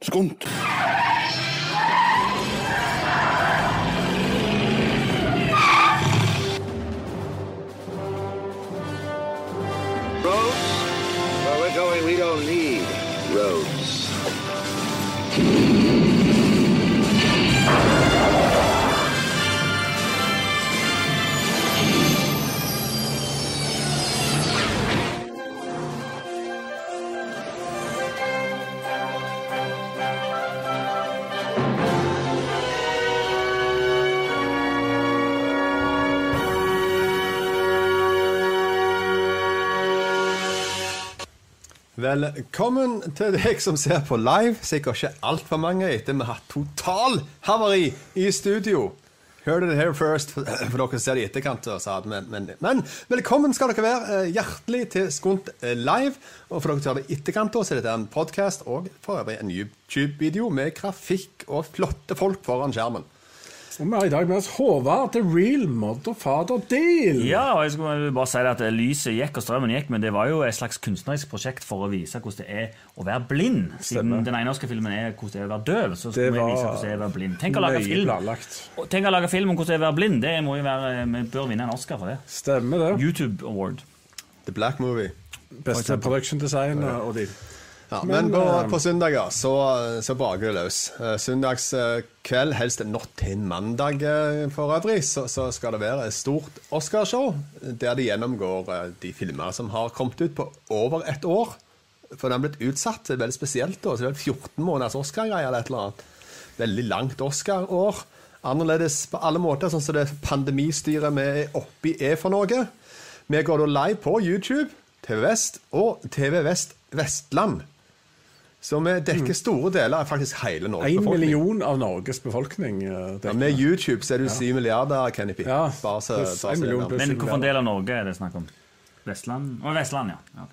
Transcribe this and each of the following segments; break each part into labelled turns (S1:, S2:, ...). S1: skumt.
S2: Roads? Where we're going, we don't need roads.
S3: Velkommen til deg som ser på live. Sikkert ikke altfor mange etter vi har hatt total havari i studio. Hørte det her first, for dere ser det i etterkant. og så hadde vi- Men, men velkommen skal dere være eh, hjertelig til Skunt eh, live. Og for dere som ser det i etterkant, da, så er dette en podkast og for øvrig en YouTube-video med grafikk og flotte folk foran skjermen.
S4: Og vi har i dag med oss Håvard the real motherfather deal.
S5: Ja, og jeg skulle bare si det at lyset gikk og strømmen gikk, men det var jo et slags kunstnerisk prosjekt for å vise hvordan det er å være blind. Siden
S4: Stemmer.
S5: den ene norske filmen er hvordan det er å være døv, så
S4: Det
S5: skulle vi
S4: var
S5: vise hvordan det er å være blind. Tenk å lage
S4: nøye
S5: film.
S4: planlagt.
S5: Og Tenk å lage film om hvordan det er å være blind. Det må jo være, eh, Vi bør vinne en Oscar for det.
S4: Stemmer det.
S5: YouTube Award.
S3: The Black Movie.
S4: Beste production design og deal.
S3: Ja, men
S4: Men,
S3: på,
S4: eh,
S3: på søndager så, så baker det løs. Eh, Søndags eh, kveld, helst natt til mandag eh, for øvrig, så, så skal det være et stort Oscarshow der de gjennomgår eh, de filmer som har kommet ut på over et år. For den har blitt utsatt. Det er veldig spesielt. da, så det er vel 14 måneders Oscar-greie eller et eller annet. Veldig langt Oscar-år. Annerledes på alle måter, sånn som det pandemistyret vi er oppi er for noe. Vi går da live på YouTube, TV Vest og TV Vest Vestland. Så vi dekker store deler av faktisk hele Norges
S4: Én
S3: befolkning.
S4: Mm. million av Norges befolkning. eh,
S3: Ja,
S4: det-
S3: med YouTube så er du syv milliarder, Kenny P.
S4: Ja,
S3: Bare så-
S4: pluss
S3: bare så det
S4: en
S3: er
S4: million
S3: navnet.
S4: pluss.
S5: Men hvilken del av Norge er det snakk om? Vestland? Å, Vestland, ja. ja. ok.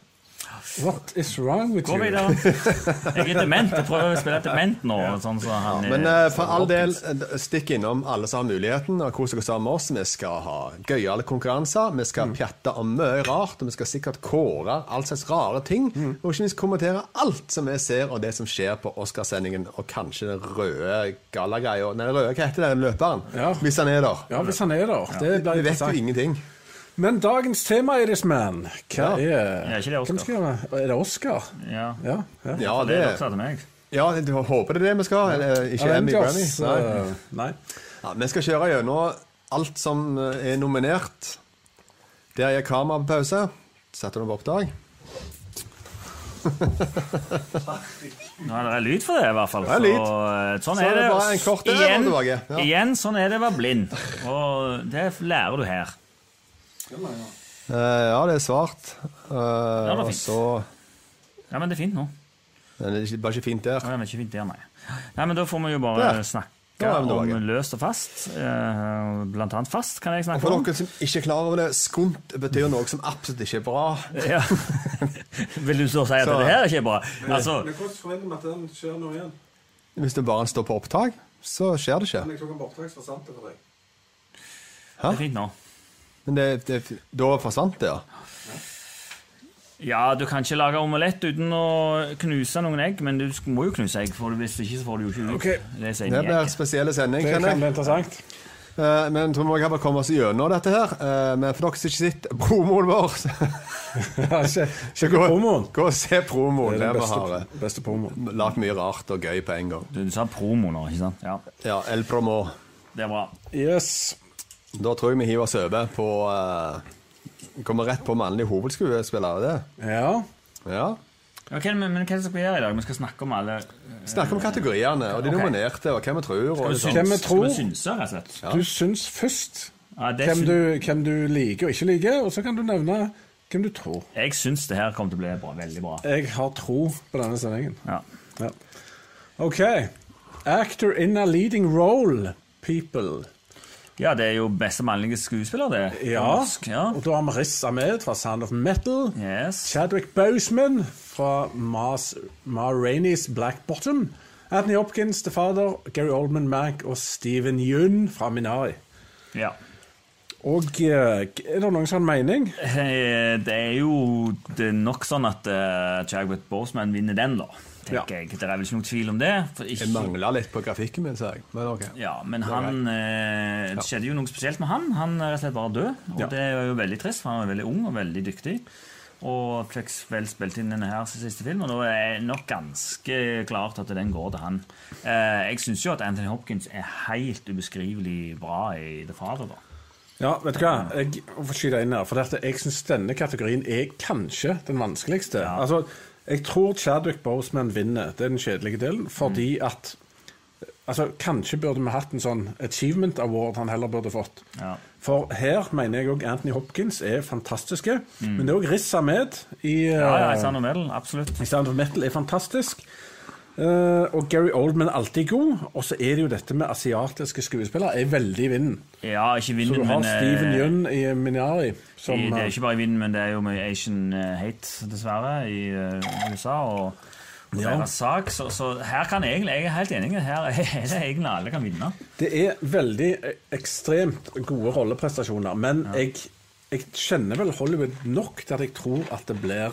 S4: What is wrong with
S5: Gå
S4: you?
S5: videre. Jeg er dement. Jeg prøver å spille dement nå. Sånn så han,
S3: Men
S5: er-
S3: eh, for all del, eh, stikk innom alle som har muligheten, og kos dere sammen med oss. Vi skal ha gøyale konkurranser, vi
S4: Mm.
S3: skal pjatte om mye rart, og vi skal sikkert kåre all slags rare ting.
S4: Mm.
S3: Og ikke minst kommentere alt som vi ser, og det som skjer på Oscarsendingen, og kanskje den røde gallagreia Nei, den røde, hva heter det, den løperen?
S4: Ja.
S3: Hvis han er der.
S4: Ja, hvis han er der. Det blir
S3: Vi vet jo
S4: interessant.
S3: ingenting.
S4: Men dagens tema, Iris Man, hva
S3: Ja.
S4: er
S5: Ja, ikke det er Oscar.
S4: Hvem skal gjøre- Er det Oscar?
S5: Ja.
S4: Ja. ja.
S3: Ja,
S5: For det
S3: det
S5: er dere sa til meg.
S3: Ja, du håper det er det vi skal? Eller, Ikke Emmy Grammy?
S4: Avengers,
S3: Nei.
S4: eh, Nei.
S3: Ja, vi skal kjøre gjennom alt som eh, er nominert. Der gikk kameraet på pause. Setter du på opptak?
S5: Nå er det lyd for det, i hvert fall.
S3: Det er lyd.
S5: Så, eh, sånn
S3: Så
S5: er
S3: er
S5: det.
S3: det bare en kort der,
S5: igjen,
S3: og tilbake. Ja.
S5: igjen, sånn er det å være blind. Og det lærer du her.
S3: Eh, ja, det er svart. Eh,
S5: det var
S3: og
S5: fint.
S3: så
S5: Ja, men det er fint nå. Nei,
S3: Men Det er ikke- bare ikke fint der.
S5: det er ikke fint der, nei. nei men da får vi jo bare
S3: Der. Da
S5: snakke
S3: er vi tilbake.
S5: om løst og fast. Eh, Blant annet fast kan jeg snakke
S3: For
S5: om.
S3: dere som ikke er klar over det, skumt betyr noe som absolutt ikke er bra.
S5: Ja. Vil du så si at
S3: Så-
S5: det her er ikke bra? Altså,
S4: hvordan forventer vi at den skjer nå igjen?
S3: Hvis du bare står på opptak, så skjer det ikke.
S4: Jeg tok en bortreist for sant for deg.
S5: det er fint nå.
S3: Men det, det, da forsvant det, ja.
S5: Ja, du kan ikke lage omelett uten å knuse noen egg, men du sk- må jo knuse egg, for hvis ikke så får du jo ikke ut.
S4: Ok.
S5: Det sier
S3: Det
S5: de
S3: blir
S5: egg.
S3: spesielle sending,
S4: Det
S3: kjenner jeg.
S4: kan bli interessant.
S3: Eh, Men tror vi kan bare komme oss gjennom dette her. Eh, Men for dere som ikke sitter promoen vår,
S4: Ja, ikke
S3: så
S4: ikke promoen.
S3: gå og se promoen.
S4: Det
S3: Det
S4: er den
S3: vi har
S4: beste, beste promoen.
S3: lagd mye rart og gøy på en gang.
S5: Du sa promo nå, ikke sant? Ja,
S3: Ja, El Promo.
S5: det er bra.
S4: Yes.
S3: Da tror jeg vi hiver oss over på eh, Kommer rett på mannlig hovedskuespiller, er det?
S4: Ja.
S3: Ja.
S5: Ok, men, men hva er det som skal gjøre i dag? Vi skal snakke om alle eh,
S3: Snakker om kategoriene og de
S5: Ok.
S3: nominerte og hvem vi tror. Og
S5: Skal
S3: litt
S5: vi
S3: sånn.
S4: Hvem
S5: synes-
S4: vi
S5: Skal
S4: tror?
S5: vi synse, rett og slett?
S4: Du syns først
S5: Ja, det
S4: hvem
S5: syn-
S4: du, hvem du liker og ikke liker, og så kan du nevne hvem du tror.
S5: Jeg syns det her kommer til å bli bra, veldig bra.
S4: Jeg har tro på denne sendingen.
S5: Ja.
S4: Ja. OK. Actor in a leading role, people.
S5: ja, det er jo beste mannlige skuespiller, det. På
S4: Ja.
S5: norsk, ja.
S4: Og da har vi Riz Ahmed fra Sound of Metal.
S5: Yes.
S4: Chadwick Boseman fra Mars, Ma Rainey's Black Bottom. Anthony Hopkins, The Father, Gary Oldman, Mank og Steven Yeun fra Minari.
S5: ja.
S4: Og eh, er det noen som har en mening?
S5: Eh, Det er jo det er nok sånn at uh, Chagwet Boseman vinner den, da.
S4: Ja.
S5: Tenker jeg. Det er vel ikke noen tvil om det. For
S3: Jeg
S5: ikke,
S3: mangla litt på grafikken min, sa jeg. Men ok.
S5: ja, men han eh, Det skjedde jo noe spesielt med han. Han er rett og slett bare død. Og
S4: Ja.
S5: det er jo veldig trist, for han var veldig ung og veldig dyktig. Og Plex vel spilte inn denne her sin siste film, og da er det nok ganske klart at den går til han. Eh, jeg syns jo at Anthony Hopkins er helt ubeskrivelig bra i The Father, da.
S4: Ja, vet du hva? Jeg må få skyte inn her, for dette, jeg syns denne kategorien er kanskje den vanskeligste. Altså, jeg tror Chadwick Boseman vinner. Det er den kjedelige delen. Fordi
S5: Mm.
S4: at Altså, Kanskje burde vi hatt en sånn achievement award han heller burde fått.
S5: Ja.
S4: For her mener jeg òg Anthony Hopkins er fantastiske. Men det er òg Riz Ahmed i
S5: Mm. Ja, ja,
S4: eh,
S5: i Sound of Metal, absolutt.
S4: i Sound of Metal er fantastisk. Eh, og Gary Oldman er alltid god. Og så er det jo dette med asiatiske skuespillere er veldig i vinden.
S5: Ja, ikke
S4: Så du
S5: vinner,
S4: har
S5: men eh,
S4: Steven Yeun i Minari. Som,
S5: I, det er
S4: eh,
S5: ikke bare i vinden, men det er jo mye Asian eh, hate, dessverre, i eh, USA. og og
S4: Ja.
S5: deres sak, så, så her kan egentlig, jeg er helt enig, her er det egentlig alle kan vinne.
S4: det er veldig eh, ekstremt gode rolleprestasjoner. Men jeg, jeg kjenner vel Hollywood nok til at jeg tror at det blir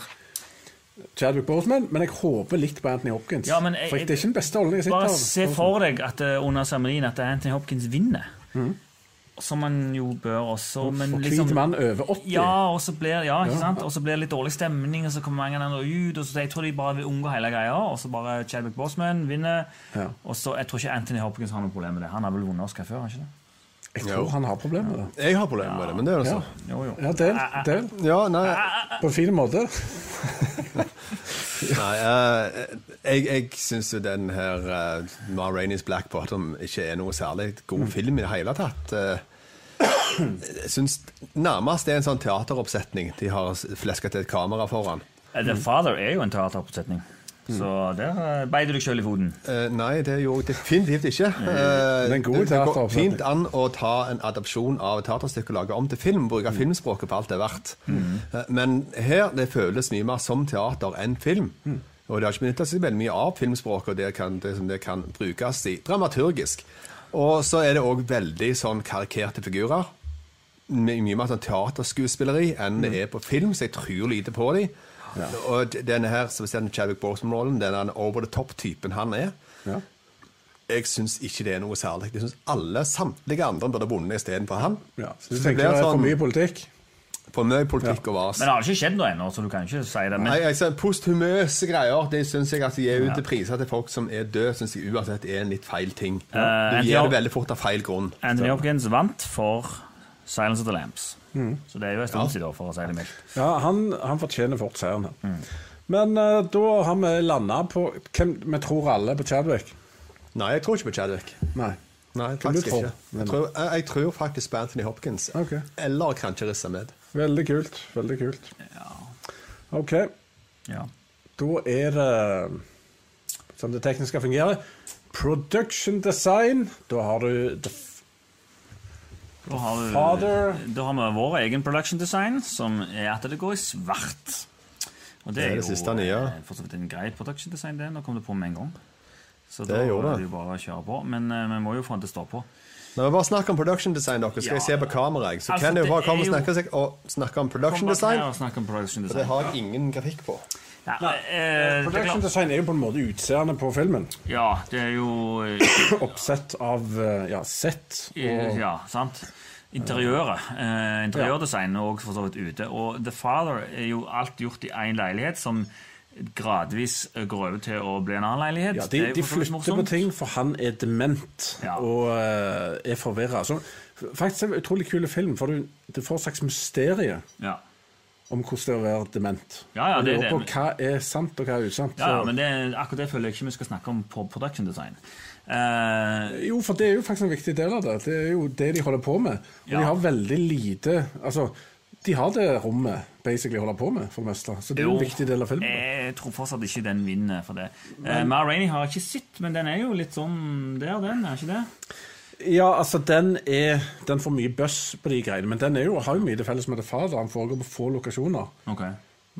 S4: Chadwick Boseman, men jeg håper litt på Anthony Hopkins.
S5: Ja, men jeg-
S4: for det er ikke den beste rollen jeg har sett.
S5: Bare
S4: av
S5: se
S4: Boseman.
S5: for deg at eh, under seremonien at Anthony Hopkins vinner. Som han jo bør også. Men
S4: Og Mm. hvit
S5: liksom,
S4: mann over 80.
S5: ja, og så blir, ja, ikke sant? Og så blir det litt dårlig stemning, og så kommer mange andre ut. Og så jeg tror de bare vil unngå hele greia, og så bare Chadwick Boseman vinner.
S4: Ja.
S5: Og så, Jeg tror ikke Anthony Hopkins har noe problem med det. Han har vel vunnet Oscar før? har han ikke det?
S4: Jeg tror han har problemer med det.
S3: Jeg har problemer med det, men det er jo
S4: Ja,
S3: sånn.
S5: Jo, jo.
S4: ja del, del.
S3: Ja, nei,
S4: På en fin måte.
S3: nei eh, Jeg, jeg syns jo den her uh, Ma Rainey's Black Bottom ikke er noe særlig god film i det hele tatt. Eh, Jeg syns nærmest det er en sånn teateroppsetning de har fleska til et kamera foran.
S5: Eh, The Father er jo en teateroppsetning.
S3: Mm.
S5: Så der eh, beit du deg sjøl i foten.
S3: Eh, nei, det gjorde jeg definitivt ikke. Eh,
S4: Men god
S3: det- det går
S4: teateroppsetning.
S3: fint an å ta en adopsjon av et teaterstykke og lage om til film. Bruke filmspråket på alt det er verdt. Eh, men her det føles mye mer som teater enn film. Og det har ikke benytta seg veldig mye av filmspråket og det, kan, det som det kan brukes i dramaturgisk. Og så er det òg veldig sånn karikerte figurer. My- Mye mer sånn teaterskuespilleri enn det er på film, så jeg tror lite på dem. Og d- denne her, spesielt Chadwick Boseman-rollen, den over the top-typen han er,
S4: Ja.
S3: jeg syns ikke det er noe særlig. Jeg syns alle samtlige andre burde vunnet istedenfor han.
S4: Ja, så du
S3: det
S4: tenker
S3: blir
S4: det er for
S3: sånn-
S4: mye politikk?
S3: For mye politikk og vas.
S5: Men det har ikke skjedd noe ennå, så du kan ikke si det. Men
S3: Nei, altså, Posthumøse greier det syns jeg at de gir ut til priser til folk som er døde, syns jeg uansett er en litt feil ting.
S5: Eh,
S3: Du gir
S5: Anthony-
S3: det veldig fort av feil grunn.
S5: Anthony Hopkins vant for Silence of the Lambs.
S3: Mm.
S5: Så det er jo en stund siden, da, for å si det mildt.
S4: Ja, han, han fortjener fort seieren. her.
S5: Mm.
S4: Men eh, da har vi landa på hvem vi tror alle på Chadwick.
S3: Nei, jeg tror ikke på Chadwick.
S4: Nei.
S3: Nei,
S4: Hvem du
S3: faktisk
S4: tror?
S3: ikke. Jeg tror, jeg, jeg tror faktisk på Anthony Hopkins.
S4: Ok.
S3: Eller kanskje Riz Ahmed.
S4: Veldig kult. Veldig kult.
S5: Ja.
S4: OK,
S5: Ja.
S4: da er det eh, Som det teknisk skal fungere. Production design. Da har du the f-
S5: Da har, vi-
S4: Father.
S5: da har vi vår egen production design, som er at det går i svart. Og
S3: Det er det siste nye.
S5: eh, for så vidt en grei production design, det. Nå kom det på med en gang. Så
S3: Det
S5: da
S3: gjorde
S5: er
S3: det.
S5: det jo bare å kjøre på. Men eh, vi må jo få den til å stå på.
S3: Når vi bare snakker om production design, dere, skal
S5: Ja.
S3: jeg se på kamera. jeg. Så
S5: Altså,
S3: kan jeg jo
S5: det
S3: bare komme
S5: er
S3: og
S5: jo-
S3: snakke, seg- og snakke om production
S5: Kom bak
S3: design.
S5: her og snakk om production
S3: For det
S5: design.
S3: har jeg ingen grafikk på.
S5: Ja, eh, det er
S4: Production
S5: klart.
S4: design er jo på en måte utseendet på filmen.
S5: ja, det er jo eh,
S4: Oppsett av eh, ja, sett og
S5: Ja, sant. Interiøret. Eh, interiørdesign er også for så vidt ute. Og The Father er jo alt gjort i én leilighet, som gradvis eh, går over til å bli en annen leilighet.
S4: Ja,
S5: Det er
S4: de,
S5: jo
S4: de
S5: for så vidt
S4: flytter på
S5: morsomt.
S4: ting, for han er dement
S5: Ja.
S4: og eh, er forvirra. Så Faktisk er det en utrolig kul film, for du, du får et slags mysterium
S5: Ja.
S4: om hvordan det er å være dement.
S5: Ja, ja,
S4: Og
S5: det er
S4: lurer
S5: det.
S4: på hva er sant, og hva er usant.
S5: Ja,
S4: Så-
S5: ja, men det, akkurat det føler jeg ikke vi skal snakke om på production design. Eh,
S4: Jo, for det er jo faktisk en viktig del av det. Det er jo det de holder på med. Og
S5: Ja.
S4: de har veldig lite Altså, de har det rommet basically holder på med, for det meste. Så det er jo en viktig del av filmen.
S5: Jeg tror fortsatt ikke den vinner for det. Eh, Ma Rainey har jeg ikke sett, men den er jo litt sånn der, den. er ikke det?
S4: Ja, altså, den er Den får mye buzz på de greiene, men den er jo, har jo mye til felles med det fader. Han foregår på få lokasjoner.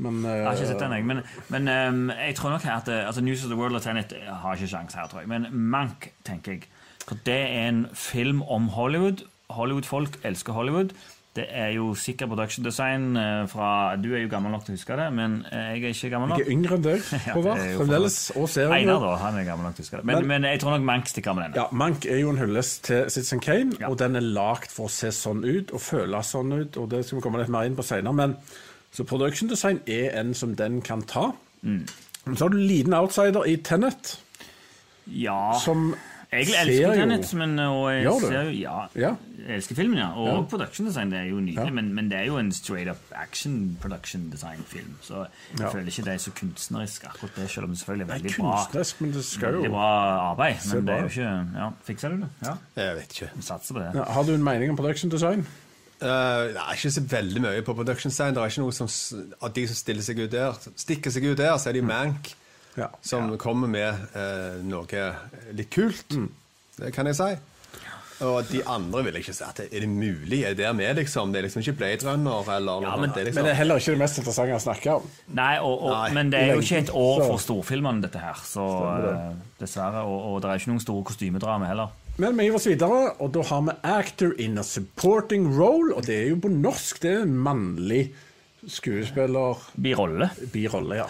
S4: Men eh,
S5: Jeg har ikke sett den, jeg. Men, men ehm, jeg tror nok at eh, altså, News of the World og Tenet har ikke sjans her, tror jeg. Men Mank, tenker jeg. For det er en film om Hollywood. Hollywood-folk elsker Hollywood. Det er jo sikkert production design eh, fra Du er jo gammel nok til å huske det, men eh, jeg er ikke gammel nok.
S4: Jeg er yngre enn deg,
S5: Ja,
S4: Håvard.
S5: det er jo
S4: Fremdeles.
S5: for-
S4: Og serien.
S5: Einar, da. Han er gammel nok til å huske det. Men, men, jeg tror nok Mank stikker med denne.
S4: Ja, Mank er jo en hyllest til Citizen Kane,
S5: Ja.
S4: og den er lagd for å se sånn ut og føle sånn ut, og det skal vi komme litt mer inn på senere. Men så production design er en som den kan ta.
S5: Mm.
S4: Men så har du en liten outsider i Tenet,
S5: Ja.
S4: som
S5: Jeg
S4: ser
S5: elsker
S4: jo-
S5: Tenet, men og jeg
S4: Gjør du?
S5: ser jo Ja.
S4: Ja.
S5: Jeg elsker filmen, ja. Og
S4: Ja.
S5: production design. Det er jo nydelig,
S4: Ja.
S5: men, men det er jo en straight up action production design-film. Så jeg
S4: Ja.
S5: føler ikke det er så kunstnerisk, akkurat det, selv om det selvfølgelig er
S4: Nei,
S5: veldig bra.
S4: kunstnerisk, men det skal
S5: Veldig
S4: jo
S5: bra arbeid,
S4: Ser
S5: men det er
S4: bra
S5: jo ikke Ja, fikser du det? Ja,
S3: Jeg vet ikke.
S5: vi satser på det.
S4: ja, Har du en mening om production design?
S3: Eh, det er ikke så veldig mye på production sign. Det er ikke noe som, s- av de som stiller seg ut der, stikker seg ut der, så er det jo Mank
S4: Mm. Ja. Mm.
S3: som kommer med eh, noe litt kult. Det kan jeg si. Og de andre vil jeg ikke si at det- er det mulig? Er det der med, liksom? Det er liksom ikke Blade Runner eller noe
S5: Ja, men-
S3: annet. Det er
S4: Men
S3: liksom,
S4: det er heller ikke det mest interessante å snakke om.
S5: Nei, og, og,
S3: Nei,
S5: men det er jo
S4: lenge.
S5: ikke et år
S4: Så-
S5: for storfilmene, dette her. Så eh, dessverre. Og, og det er ikke noen store kostymedrama heller.
S4: Men vi gir oss videre, og da har vi actor in a supporting role, og det er jo på norsk, det er en mannlig skuespiller
S5: Birolle.
S4: birolle, ja.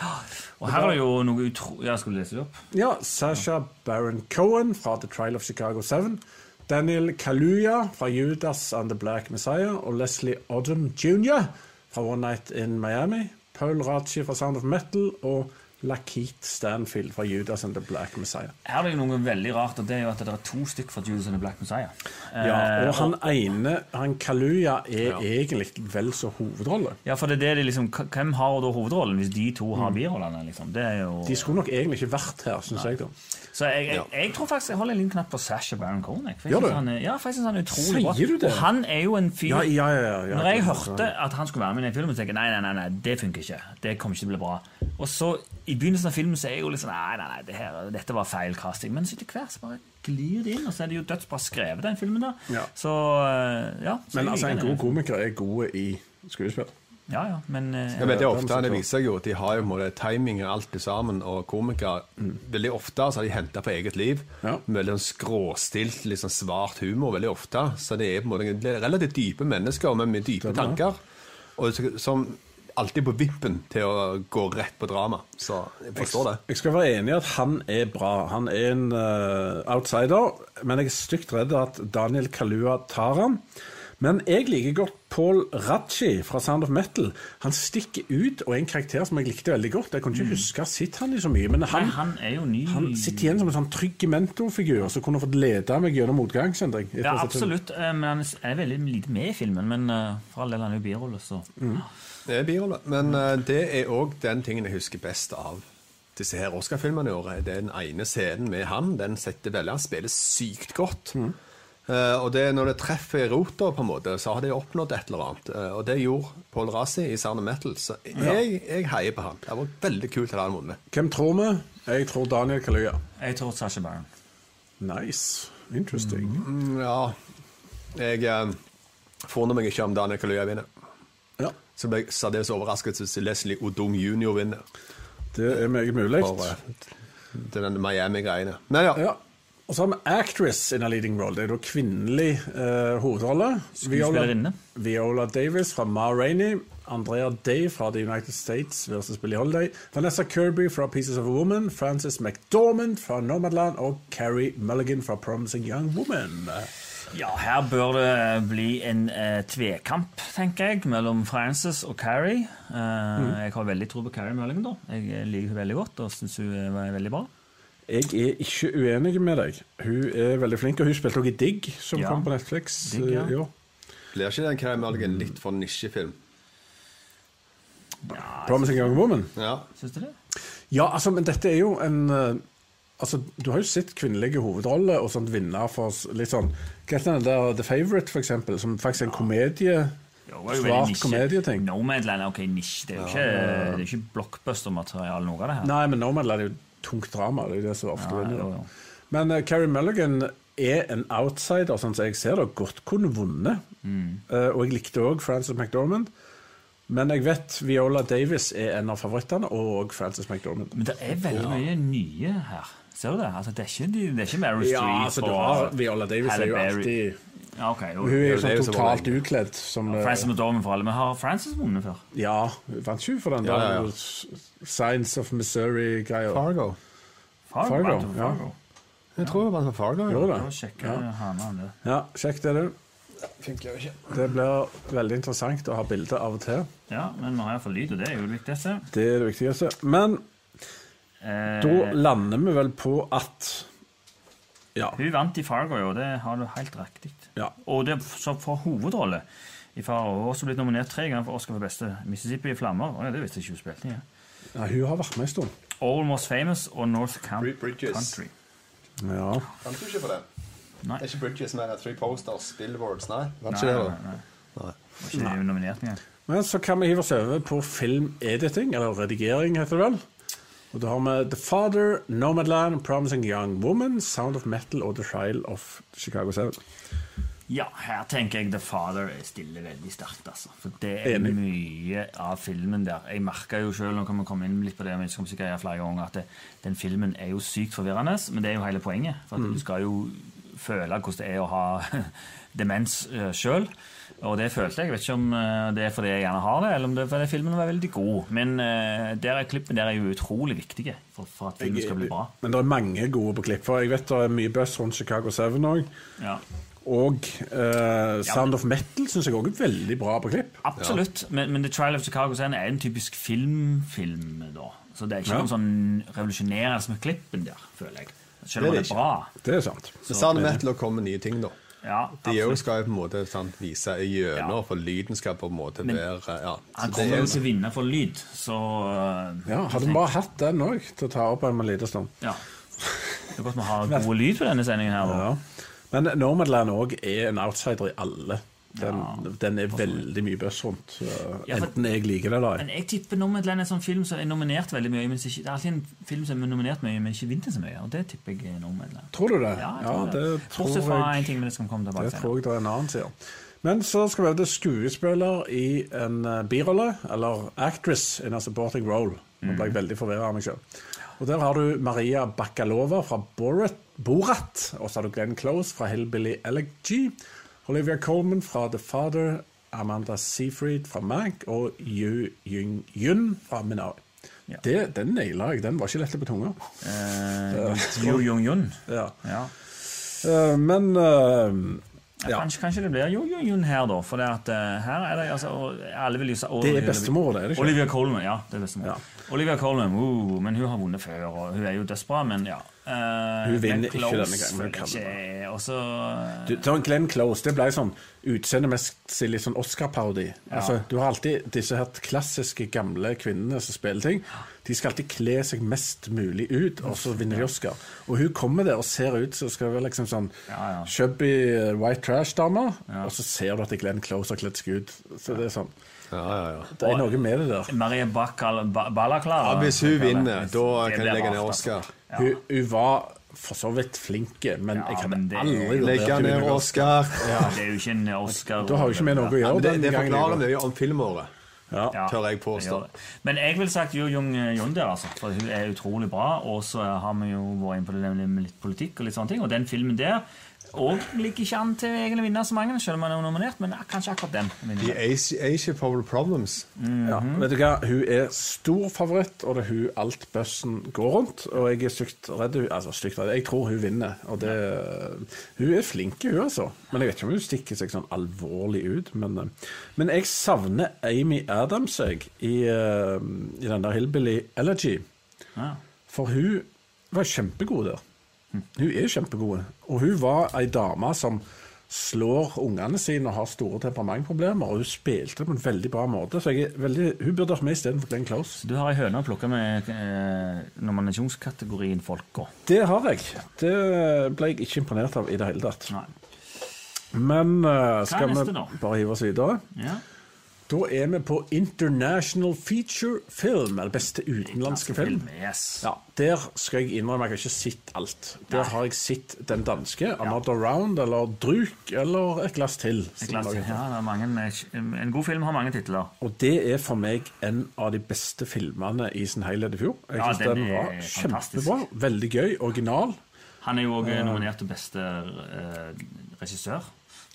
S5: Og her er det jo noe utro... Ja, skal du lese det opp?
S4: Ja, Sasha Baron Cohen fra The Trial of Chicago 7. Daniel Kaluuya fra Judas and the Black Messiah. Og Leslie Odom jr. fra One Night in Miami. Paul Raji fra Sound of Metal. Og Lakeith Stanfield fra Judas and the Black Messiah.
S5: Her er det jo noe veldig rart, og det er jo at det er to stykk fra Judas and the Black Messiah. Eh,
S4: Ja, og han ene, han Kaluuya, er
S3: Ja.
S4: egentlig vel så hovedrolle.
S5: ja, for det er det de liksom k- Hvem har da hovedrollen hvis de to
S4: Mm.
S5: har birollene, liksom? Det er jo
S4: De skulle nok egentlig ikke vært her, syns jeg. da.
S5: Så jeg, jeg, jeg tror faktisk jeg holder en liten knapp på Sasha Baron Cohen. Jeg. For jeg
S4: Gjør
S5: synes
S4: du?
S5: han er, ja, for jeg synes han er utrolig
S4: Sier
S5: bra.
S4: du det?
S5: Og han er jo en fyr
S4: Ja, ja, ja, ja, sånn. ja.
S5: Når jeg hørte at han skulle være med i den filmen, så tenkte jeg nei, nei, nei, nei, det funker ikke. Det kommer ikke til å bli bra. Og så i begynnelsen av filmen så er jeg jo litt sånn nei, nei, nei, det her, dette var feil casting. Men så etter hvert så bare glir det inn, og så er det jo dødsbra skrevet, den filmen der.
S4: Ja.
S5: Så eh, ja. Så
S4: Men
S5: jeg
S4: altså,
S5: liker
S4: en
S5: den.
S4: god komiker er god i skuespill.
S5: Ja, ja, men eh,
S3: Ja, men det er
S4: Hvem
S3: ofte,
S4: som
S3: det
S4: tror.
S3: viser seg jo at de har jo på en måte timing og alt det sammen, og komikere mm, veldig ofte så har de henta på eget liv.
S4: Ja.
S3: med Veldig sånn skråstilt, litt sånn svart humor veldig ofte. Så det er på en måte det er relativt dype mennesker, men med dype
S4: Stemmer.
S3: tanker. Og så- som alltid på vippen til å gå rett på drama. Så jeg forstår det.
S4: Jeg skal være enig i at han er bra. Han er en eh, outsider, men jeg er stygt redd at Daniel Kalua tar han. Men jeg liker godt Paul Raji fra Sound of Metal. Han stikker ut og er en karakter som jeg likte veldig godt. Jeg kunne ikke huske å ha sett han i så mye, men han,
S5: han, Mm. han er jo ny.
S4: han sitter igjen som en sånn trygg mentorfigur som kunne fått lede meg gjennom motgang, kjente jeg.
S5: ja, absolutt. eh, Men han er veldig lite med i filmen. Men eh, for all del, han er jo birolle, så
S4: Mm.
S3: Det er birolle. Men eh, det er òg den tingen jeg husker best av disse her Oscar-filmene i år. Det er den ene scenen med han. Den setter veldig Han spiller sykt godt. Eh, og det er når det treffer i rota, på en måte, så har de oppnådd et eller annet. Eh, og det gjorde Paul Rassi i Sound of Metal, så jeg, jeg heier på han. Det var veldig kult at han vunnet.
S4: Hvem tror vi? Jeg tror Daniel Kalua.
S5: jeg tror Sasha Baron.
S4: Nice. Interesting.
S3: Mm, ja, jeg eh, forundrer meg ikke om Daniel Kaluya vinner.
S4: Ja,
S3: Så ble jeg særdeles overrasket hvis Leslie Odom jr. vinner.
S4: det er meget mulig.
S3: For eh, den Miami-greiene. Men ja.
S4: Ja. Og så har vi actress in a leading role. Det er da kvinnelig eh, hovedrolle.
S5: Skuespillerinne.
S4: Viola Davis fra Ma Rainey. Andrea Day fra The United States versus Billie Holiday. Vanessa Kirby fra Pieces of a Woman. Frances McDormand fra Nomadland. Og Carrie Mulligan fra Promising Young Woman.
S5: Ja, her bør det bli en eh, tvekamp, tenker jeg, mellom Frances og Carrie. Eh,
S4: Mm.
S5: Jeg har veldig tro på Carrie Mulligan, da. Jeg eh, liker hun veldig godt og syns hun er veldig bra.
S4: Jeg er ikke uenig med deg. Hun er veldig flink, og hun spilte også i Digg, som
S5: Ja.
S4: kom på Netflix.
S5: Digg, ja.
S4: eh, i år.
S3: Blir ikke den Kremelgen litt for nisjefilm?
S4: Promising Young Woman.
S3: Ja.
S5: Syns du det?
S4: Ja, altså, men dette er jo en eh, Altså, Du har jo sett kvinnelige hovedroller og sånt vinner for s- litt sånn Hva heter den der The Favourite, for eksempel, som faktisk er en komedie?
S5: Jo, det er jo veldig
S4: Svart
S5: nisje.
S4: komedieting.
S5: Nomadland er ok, nisje. Det er jo ikke, det er ikke blockbuster-materiale, noe av det her.
S4: Nei, men Nomadland er jo tungt drama. det er jo det som ofte
S5: Ja,
S4: vinner.
S5: jo, jo.
S4: Men eh, Carrie Mulligan er en outsider, sånn som jeg ser det, og godt kunne vunnet.
S5: Mm.
S4: Eh, og jeg likte òg Frances McDormand. Men jeg vet Viola Davis er en av favorittene, og Frances McDormand.
S5: Men det er veldig mye nye her. Ser du det? Altså, det, er ikke, de- det er ikke Mary
S4: Ja,
S5: Street
S4: altså, du har Viola Davis er jo alltid
S5: Ja, ok, jo.
S4: Hun er jo
S3: det er
S4: sånn
S3: jo så
S4: totalt
S3: vanlig.
S4: utkledd som eh,
S5: Frances McDormand for alle. Men har Frances vunnet før?
S4: Ja, vant ikke hun for den
S3: Ja,
S4: der
S3: ja, ja.
S4: Science of Missouri-greia?
S3: Fargo.
S5: Fargo.
S4: Fargo,
S5: vant hun for
S4: ja.
S5: Fargo.
S3: Jeg tror jeg vant for Fargo.
S4: Gjorde
S5: Da
S4: det?
S5: sjekker jeg hana om det.
S4: Ja, sjekk det, du. Det blir veldig interessant å ha bilder av og til.
S5: Ja, men vi har iallfall lyd, og det er jo litt dette.
S4: Det er det viktigste. Men
S5: Eh,
S4: da lander vi vel på at Ja.
S5: Hun vant i Fargo, jo. Det har du helt riktig.
S4: ja.
S5: Og det som for hovedrolle i Fargo har hun også blitt nominert tre ganger for Oscar for beste Mississippi i flammer. Å, ja, det visste jeg ikke hun spilte i. Ja.
S4: ja hun har vært med en stund.
S5: Almost Famous og North Camp
S3: Three Bridges.
S5: Country.
S4: Ja.
S3: Vant du ikke for det?
S5: Nei.
S3: Det er ikke Bridges, men det er Three Posters, Billboards, nei. Vant
S5: Nei,
S3: ikke det, da?
S5: nei, nei. Var ikke hun nominert engang.
S4: Men så kan vi hive oss over på filmediting, eller redigering, heter det vel. Og da har vi The Father, Nomadland, Promising Young Woman, Sound of Metal og The Trial of Chicago 7.
S5: Ja, her tenker jeg The Father stiller veldig sterkt, altså. For det er
S4: Enig.
S5: mye av filmen der. Jeg merka jo sjøl, nå kan vi komme inn litt på det, men jeg skal sikkert gjøre flere ganger, at det, den filmen er jo sykt forvirrende, men det er jo hele poenget. For at
S4: Mm.
S5: du skal jo føle hvordan det er å ha demens uh, sjøl. Og det følte jeg. Jeg vet ikke om eh, det er fordi jeg gjerne har det, eller om det er fordi filmen var veldig god. Men eh, der er klippene der er jo utrolig viktige for, for at filmen skal bli bra.
S4: Men det er mange gode på klipp. For jeg vet det er mye buzz rundt Chicago 7 òg.
S5: Ja.
S4: Og eh, Sound of Metal syns jeg òg er veldig bra på klipp.
S5: Absolutt, men, men The Trial of Chicago Seven er en typisk filmfilm. da Så det er ikke
S4: Ja.
S5: noe sånn revolusjonerende med klippen der, føler jeg. Selv om
S3: Det
S5: det
S3: er
S5: er bra.
S4: Det er sant.
S3: Men Sound Metal kommer med nye ting, da.
S5: sånn Ja,
S3: De jo
S5: absolutt.
S3: skal jo på en måte sant, vise gjennom,
S5: Ja.
S3: for lyden skal på en måte være ja.
S5: Han
S3: Så det
S5: kommer
S3: er-
S5: jo til å vinne for lyd, så øh,
S4: Ja, Hadde vi bare hatt den òg til å ta opp om en liten stund.
S5: ja. Det er godt vi har god lyd på denne sendingen her. da.
S4: Ja. Men Nomadland òg er en outsider i alle. Den, den er veldig mye buzz rundt. eh,
S5: Ja, for-
S4: enten jeg liker det eller ei.
S5: Men jeg tipper Nomadland er en sånn film som er nominert veldig mye. Men som ikke, det er alltid en film som er nominert mye, men ikke vinner så mye. Og det tipper jeg er Nomadland.
S4: Tror du det?
S5: Ja, jeg
S4: ja
S5: tror
S4: det
S5: det.
S4: tror
S5: Bortsett fra
S4: jeg.
S5: en ting, men det skal vi komme tilbake
S4: Det
S5: til.
S4: tror jeg det er en annen side. Men så skal vi over til skuespiller i en eh, birolle, eller actress in a supporting role. Nå ble jeg veldig forvirra av meg selv. Og der har du Maria Bakalova fra Borat, Borat og så har du Glenn Close fra Hillbilly Elegy, Olivia Colman fra The Father, Amanda Seyfried fra Mank og Yu Yun, Yun fra Minari.
S5: Ja.
S4: Det, den naila jeg. Den var ikke lett på tunga.
S5: Eh, Jo Jung-Jun.
S4: Ja.
S5: Ja.
S4: Eh, men eh, ja.
S5: Kanskje, kanskje det blir jo, jo, jo her, da. For det at, eh, her er det altså og alle vil jo sa- og-
S4: Det er bestemor, det er det ikke?
S5: Olivia Colman, ja. det er bestemor.
S4: Ja.
S5: Olivia Colman, uh, men hun har vunnet før, og hun er jo dødsbra, men ja. Eh,
S4: Hun vinner
S5: men
S4: ikke
S5: Close
S4: denne gangen, men hun kan
S5: føler jeg ikke, Og så
S4: Du, sånn Glenn Close det ble sånn utseendemessig litt sånn Oscar-parodi. Altså, du har alltid disse her klassiske gamle kvinnene som spiller ting. De skal alltid kle seg mest mulig ut, og så vinner de Oscar. Og hun kommer der og ser ut som skal være liksom sånn
S5: Ja, ja.
S4: chubby eh, white trash-dame, og så ser du at Glenn Close har kledd seg ut. Så det er sånn
S3: Ja, ja, ja.
S4: Det er noe med det der.
S5: Marie Bakal eh, ba Balaklar.
S3: Ja, hvis hun vinner, da kan jeg legge ned
S5: altså.
S3: Oscar.
S4: Hun, hun var for så vidt flink, men
S5: Ja,
S4: jeg hadde
S5: men det-
S4: aldri
S3: Legge
S4: vurdert
S3: ned
S4: henne.
S3: Oscar.
S5: Det er jo ikke en Oscar.
S4: Da har jo ikke vi noe å
S3: Ja, men
S4: gjøre.
S3: det,
S4: den
S3: det
S4: gangen.
S3: forklarer mye om filmåret.
S4: Ja.
S5: Ja,
S3: tør jeg
S5: det
S3: påstå.
S5: gjør det. Men jeg vil sagt Jo Jung Jung der, altså. For hun er utrolig bra. Og så har vi jo vært inne på det nemlig med litt politikk og litt sånne ting. Og den filmen der og ligger ikke an til egentlig å vinne så mange, selv om han er nominert, men kanskje akkurat den.
S3: The
S5: vinner.
S3: Asia, Asia Power Problems.
S5: Mm.
S4: Ja, vet du hva? Hun er stor favoritt, og det er hun alt bussen går rundt. Og jeg er stygt redd hun, altså, stygt redd. Jeg tror hun vinner. Og det, hun er flink, hun, altså. Men jeg vet ikke om hun stikker seg sånn alvorlig ut. Men, eh, men jeg savner Amy Adams jeg, i, eh, i den der Hillbilly Elegy.
S5: Ja.
S4: For hun var kjempegod der. Hun er kjempegod. Og hun var ei dame som slår ungene sine og har store temperamentproblemer. Og hun spilte det på en veldig bra måte. Så jeg er veldig, hun burde vært med istedenfor Glenn Close.
S5: Du har ei høne å plukke med eh, nominasjonskategorien folka.
S4: Det har jeg. Det ble jeg ikke imponert av i det hele tatt.
S5: Nei.
S4: Men eh, skal
S5: er
S4: vi
S5: neste da?
S4: bare hive oss videre?
S5: Ja.
S4: Da er vi på International Feature Film, eller beste utenlandske film.
S5: Yes.
S4: Ja, Der skal jeg innrømme at jeg har ikke sett alt. Der har jeg sett den danske, 'Another Round', eller 'Druk', eller 'Et glass til'.
S5: Det er
S4: som
S5: klart.
S4: laget.
S5: Ja, det er mange, en god film har mange titler.
S4: Og det er for meg en av de beste filmene i sin helhet i fjor. Jeg
S5: Ja,
S4: synes
S5: den
S4: den,
S5: er
S4: var
S5: fantastisk.
S4: kjempebra. Veldig gøy. Original.
S5: Han er jo òg nominert til beste eh, regissør.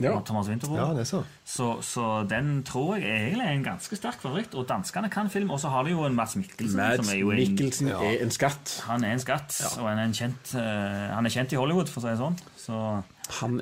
S4: Ja.
S5: og Thomas Winterboe.
S3: Ja, det er sånn. så.
S5: Så, så den tror jeg egentlig er en ganske sterk favoritt. Og danskene kan film. Og så har de jo en Mats Mikkelsen.
S4: Mads
S5: som er jo en,
S4: Mikkelsen er en skatt.
S5: Han er en skatt, og han er, en kjent, eh, han er kjent i Hollywood, for å si det sånn. Så
S4: Han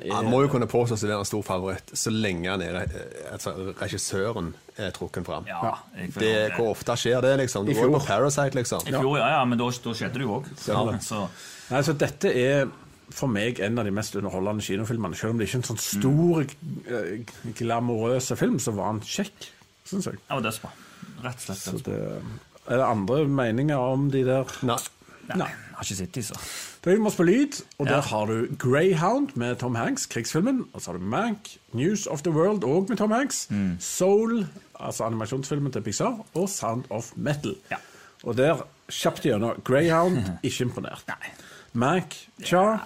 S3: Han
S5: Eh,
S4: er
S3: må jo kunne påstå seg å være en stor favoritt så lenge han er, eh, altså, regissøren er trukken fram.
S5: ja.
S3: Det,
S5: jeg føler
S3: hvor ofte skjer det, liksom? Du
S4: I
S3: var jo
S4: fjor.
S3: på Parasite, liksom.
S5: I fjor, ja, ja, men da, da skjedde det jo òg.
S3: Ja.
S5: Så
S4: Nei, så dette er for meg en av de mest underholdende kinofilmene. Selv om det ikke er en sånn stor, eh, glamorøse film, så var han kjekk, syns jeg.
S5: det var dødsbra. Rett og slett.
S4: Så
S5: dødsbra.
S4: det, er det andre meninger om de der?
S3: Nei.
S5: Nei, jeg har ikke sett de, så.
S4: Da er vi med oss på lyd, og
S5: Ja.
S4: der har du Greyhound med Tom Hanks, krigsfilmen. Og så har du Mank, News of the World òg med Tom Hanks.
S5: Mm.
S4: Soul, altså animasjonsfilmen til Pixar, og Sound of Metal.
S5: Ja.
S4: Og der, kjapt gjennom, Greyhound, ikke imponert.
S5: Nei.
S4: Mank, tja.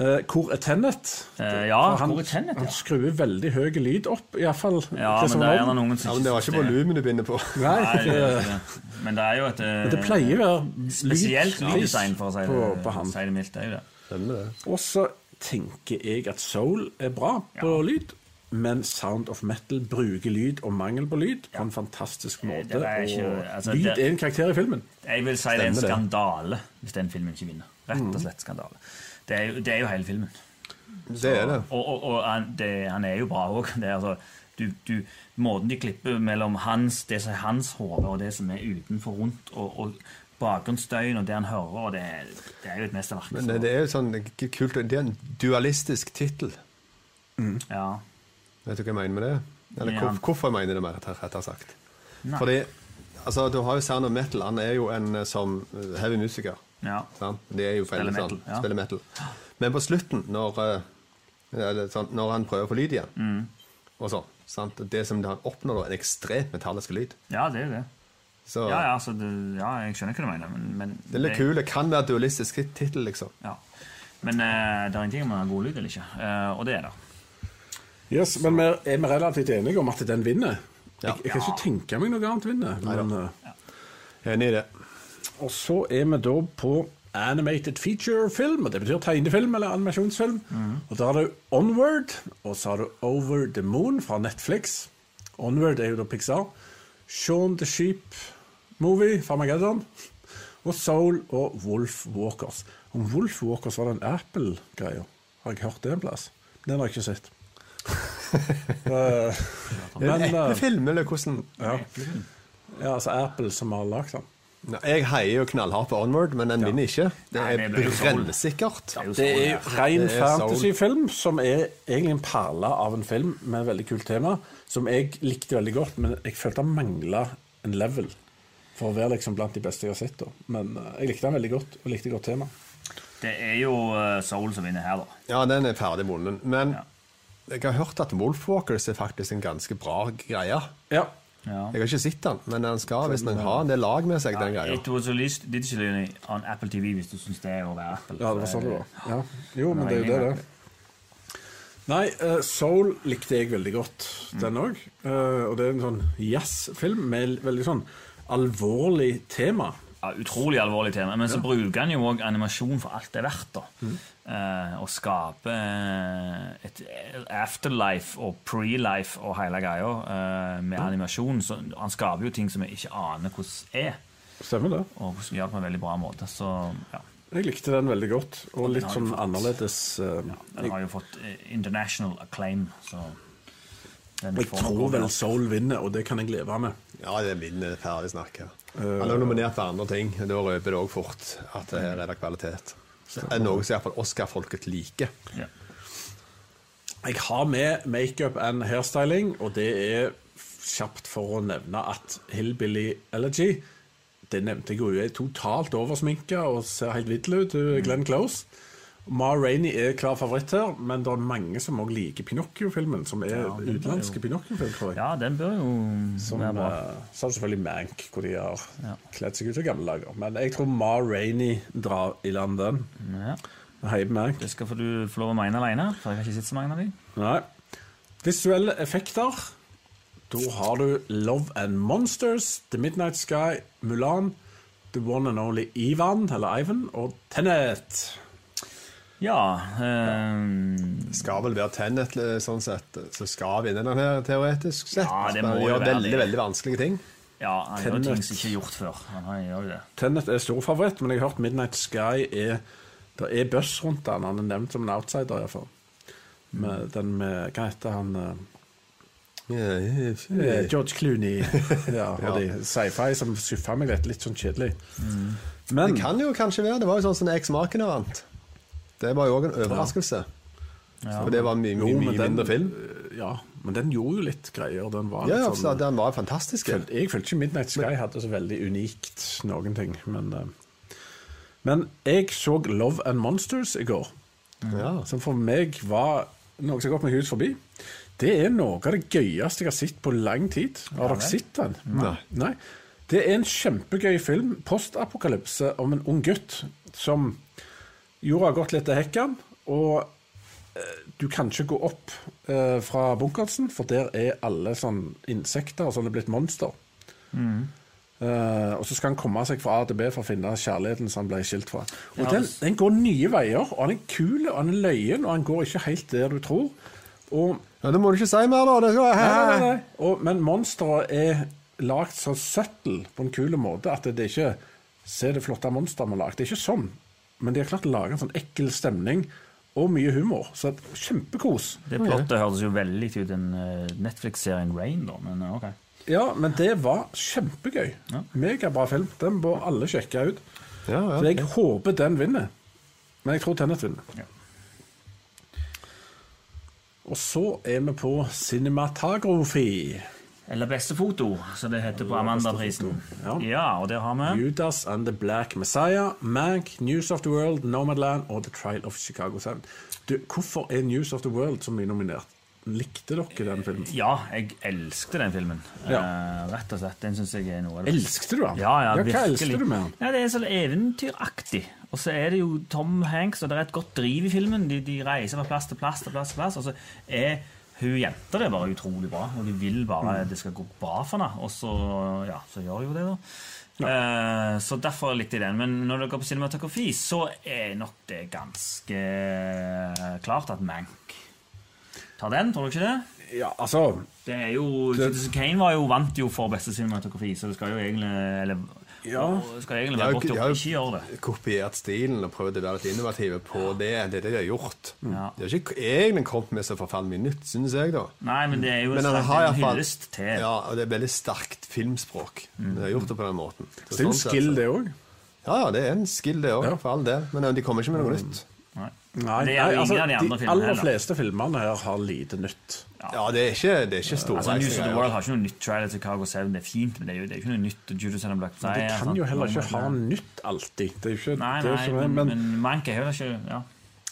S4: Eh, hvor er Tennet?
S5: Eh, ja,
S4: For
S5: hvor er Tenet,
S4: Han
S5: ja.
S4: skrur veldig høy lyd opp, iallfall.
S5: Ja, men det er gjerne noen
S3: Ja,
S5: som
S3: men det var ikke volumen du begynner på.
S4: sånn Nei,
S5: Nei, det
S4: det,
S5: er ikke det. Men det er jo et eh,
S4: det pleier å være
S5: spesielt lyddesign, for å si det,
S4: på, på han.
S5: si det mildt. Det er jo det.
S3: Stemmer det.
S4: Og så tenker jeg at soul er bra på lyd, men Sound of Metal bruker lyd og mangel på lyd på en fantastisk måte.
S5: Eh, det er ikke-
S4: og
S5: altså,
S4: lyd
S5: det-
S4: er en karakter i filmen.
S5: Jeg vil si det er en
S3: Stemmer det. Mm.
S5: skandale hvis den filmen ikke vinner. Rett og slett skandale. Det er jo, det er jo hele filmen.
S3: Det er det.
S5: Og, og, og han, det, han er jo bra òg. Altså, du, du, måten de klipper mellom hans, det som er hans hode, og det som er utenfor rundt, og, og bakgrunnsstøyen og det han hører, og det, er- det er jo et mesterverk.
S3: Men det,
S5: så-
S3: det er jo sånn k- kult Det er en dualistisk tittel.
S5: Ja.
S3: Vet du hva jeg mener med det? Eller
S5: Ja.
S3: hvor, hvorfor jeg mener det mer, rett- rettere sagt.
S5: Nei.
S3: Fordi altså, du har jo Sound of Metal. Han er jo en eh, som eh, heavy musiker.
S5: ja.
S3: Sant? Det er jo
S5: Spiller
S3: veldig
S5: metal,
S3: sånn.
S5: ja.
S3: Spiller metal. Men på slutten, når, eh, eller sånn, når han prøver på lyd igjen,
S5: Mm.
S3: og sånn, sant? det som han oppnår, da, en ekstremt metallisk lyd
S5: ja, det er jo det.
S3: Så
S5: Ja, ja, så det, ja, jeg skjønner hva du mener, men, men
S3: det er litt kul. Det kan være dualistisk tit- tittel, liksom.
S5: Ja. Men eh, det er ingenting om han har god lyd eller ikke, Eh, og det er det.
S4: Yes, men vi er vi relativt enige om at den vinner. Jeg, jeg kan
S5: Ja.
S4: ikke tenke meg noe annet vinner. Men, eh,
S3: Enig i det.
S4: og så er vi da på animated feature-film, og det betyr tegnefilm eller animasjonsfilm. Og da har du Onward, og så har du Over the Moon fra Netflix. Onward er jo da Pixar. Shaun the Sheep Movie fra Mageddon. Og Soul og Wolf Walkers. Om Wolf Walkers var den Apple-greia. Har jeg hørt det en plass? Den har jeg ikke sett. Eh,
S3: Men,
S4: men eh,
S3: Eplefilm, eller hvordan
S4: ja. ja, altså Apple som har lagd den.
S3: Nei, Jeg heier jo knallhardt på Onward, men den vinner ikke. Det
S5: Nei,
S3: er
S5: det ble jo soul.
S3: brennsikkert.
S5: er jo
S4: Det er jo ren
S3: Det er
S4: fantasyfilm, som er egentlig en perle av en film med et veldig kult tema, som jeg likte veldig godt, men jeg følte han mangla en level. For å være liksom blant de beste jeg har sett. da. Men eh, jeg likte han veldig godt, og likte godt tema.
S5: Det er jo eh, Soul som vinner her, da.
S3: Ja, den er ferdig moden. Men
S5: Ja.
S3: jeg har hørt at Wolfwalkers er faktisk en ganske bra greie.
S4: Ja.
S5: Ja.
S3: Jeg har ikke sett den, men den skal visstnok ha en del lag med seg, den greia.
S5: It was released digitally on Apple TV, hvis du syns det er å være Apple.
S4: ja, det var sånn det var. Ja. Jo, men det er jo
S5: Nei,
S4: det, det. Nei, eh, Soul likte jeg veldig godt, den òg. og det er en sånn jazzfilm med veldig sånn alvorlig tema.
S5: Ja, utrolig alvorlig tema. Men så bruker han jo òg animasjon for alt det er verdt. da.
S4: Mm.
S5: Eh, og skaper eh, et afterlife og prelife og hele greia eh, med animasjon. Så han skaper jo ting som jeg ikke aner hvordan er,
S4: Stemmer det?
S5: og hvordan gjør det på en veldig bra måte. Så ja.
S4: Jeg likte den veldig godt, og litt sånn annerledes. eh,
S5: Den har jo fått eh, international acclaim, så den
S4: Jeg
S5: får nok
S4: tror vel
S5: overraskelse.
S4: Soul vinner, og det kan jeg leve med.
S3: Ja, det er min eh, ferdig snakk her. Han er nominert for andre ting. Da røper det òg fort at det her er det kvalitet. Det er noe som iallfall Oscar-folket liker.
S5: Ja.
S4: Jeg har med makeup and hairstyling, og det er kjapt for å nevne at Hillbilly Elegy Det nevnte jeg jo, hun er totalt oversminka og ser helt vill ut, hun er Glenn Close. Ma Rainey er klar favoritt her, men det er mange som òg liker Pinocchio-filmen, som er utenlandske Pinocchio-film, tror jeg.
S5: ja, den bør jo
S4: Som,
S5: være bra.
S4: eh, så er det selvfølgelig Mank, hvor de har
S5: Ja.
S4: kledd seg ut som gamle dager. Men jeg tror Ma Rainey drar i land den.
S5: Ja.
S4: Hei, Mank.
S5: Det skal få du få lov å mene alene, for jeg har ikke sett så mange av dem.
S4: Nei. Visuelle effekter. Da har du Love and Monsters, The Midnight Sky, Mulan, The One and Only Ivan, eller Ivan, og Tenet.
S5: Ja. eh,
S3: Skal vel være Tenet eh, sånn sett, så skal vinne den her teoretisk sett.
S5: Ja, det
S3: Men
S5: må
S3: han
S5: jo
S3: gjør
S5: være
S3: veldig,
S5: det.
S3: veldig vanskelige ting.
S5: ja, han gjør ting
S4: Tenet.
S5: som ikke er gjort før. Han har- gjør jo det.
S4: Tenet er stor favoritt, men jeg har hørt Midnight Sky er Det er buzz rundt han. Han er nevnt som en outsider, iallfall. Med den med Hva heter han eh, eh, George Clooney. Ja, og
S3: Ja.
S4: de sci-fi som skuffa meg litt. Litt sånn kjedelig. Men
S3: Mm. Det kan jo kanskje være. Det var jo sånn som X-Marken vant. Det var jo òg en overraskelse. Og det var mye,
S4: Jo,
S3: mye,
S4: men
S3: mye
S4: den-
S3: mindre film.
S4: Ja, men den gjorde jo litt greier. Den var liksom
S3: Ja, ja,
S4: litt
S3: så den var fantastisk.
S4: følte- Jeg følte ikke Midnight Sky hadde så veldig unikt noen ting, men eh, Men jeg så Love and Monsters i går,
S3: Ja.
S4: som for meg var noe som har gått meg hus forbi. Det er noe av det gøyeste jeg har sett på lang tid. Har dere sett den?
S3: Nei.
S4: Nei. Det er en kjempegøy film, postapokalypse, om en ung gutt som jorda har gått litt til hekken, og eh, du kan ikke gå opp eh, fra bunkersen, for der er alle sånn insekter og sånn er blitt monster. Eh, og så skal han komme seg fra A til B for å finne kjærligheten som han ble skilt fra. Og
S5: Ja,
S4: den,
S5: det-
S4: den går nye veier, og han er kul, og han er løyen, og han går ikke helt der du tror. Og
S3: Ja, det må du ikke si mer, da. Det skal være
S4: Nei, nei, nei. Og, men monsteret er lagd så søttel på en kul måte at det er ikke Se det flotte monsteret vi har lagd. Det er ikke sånn. Men de har klart å lage en sånn ekkel stemning og mye humor. Så et kjempekos.
S5: Det plottet hørtes jo veldig likt ut en eh, Netflix-serien Rain, da, men eh, OK.
S4: Ja, men det var kjempegøy. Megabra film. Den bør alle sjekke ut.
S3: Ja, ja.
S4: Så jeg håper den vinner. Men jeg tror Tennet vinner.
S5: Ja.
S4: Og så er vi på cinematografi.
S5: Eller Beste foto, som det heter på Amandaprisen.
S4: foto, ja.
S5: Ja, og der har vi
S4: Judas and the Black Messiah, Mank, News of the World, Nomadland og The Trial of Chicago 7. Du, hvorfor er News of the World så mye nominert? Likte dere den filmen?
S5: Ja, jeg elsket den filmen.
S4: Ja.
S5: Eh, rett og slett. Den syns jeg er noe av det
S4: Elskte du den?
S5: Ja, ja,
S4: hva
S5: virkelig.
S4: elsker du med den?
S5: Ja, det er så eventyraktig. Og så er det jo Tom Hanks, og det er et godt driv i filmen. De, de reiser fra plass til plass til plass, til plass og så er hun jenta det er bare utrolig bra. Og de vil bare
S4: Mm.
S5: at det skal gå bra for henne, og så, ja, så gjør jo det, da. Eh, så derfor likte jeg den. Men når det går på cinematografi, så er nok det ganske eh, klart at Mank tar den, tror du ikke det?
S4: Ja, altså,
S5: Det er jo, Citizen Kane var jo vant jo for beste cinematografi, så det skal jo egentlig Eller
S4: Ja.
S5: og skal
S3: Jeg har
S5: egentlig være
S3: jo
S5: godt
S3: ikke- jeg
S5: å
S3: har jo-
S5: ikke gjøre det.
S3: Kopiert stilen og prøvd å være litt innovative på det. Det er det de har gjort.
S5: Ja.
S3: De har ikke egentlig kommet med så forferdelig mye nytt, synes jeg, da.
S5: Nei, men det er jo
S3: Men
S5: en
S3: han
S5: slags-
S3: har
S5: en
S3: iallfall
S5: hyllest til
S3: Ja, og det er veldig sterkt filmspråk. De har gjort det på den måten. Så
S4: Mm. det er jo
S3: sånn
S4: en
S3: sett,
S4: skill,
S3: så-
S4: det òg.
S3: Ja, ja, det er en skill, det òg,
S4: Ja. Mm.
S3: for all del. Men eh, de kommer ikke med noe nytt.
S5: Nei.
S4: Nei,
S5: Det er jo
S4: altså,
S5: ingen av de andre
S4: de
S5: filmene
S4: aller
S5: heller.
S4: fleste filmene her har lite nytt.
S3: Ja, det er ikke, det er ikke store
S5: Altså, News of the
S3: reisegreier.
S5: World har ikke noe nytt trailer til Cargo 7. Det er fint, men det er jo, det er jo ikke noe nytt. Judas and the Black
S4: De
S5: Messiah,
S4: kan
S5: sant?
S4: jo heller ikke ha nytt alltid. Det er jo ikke
S5: Nei,
S4: det
S5: nei,
S4: som er, men,
S5: men, men Mank er heller ikke ja.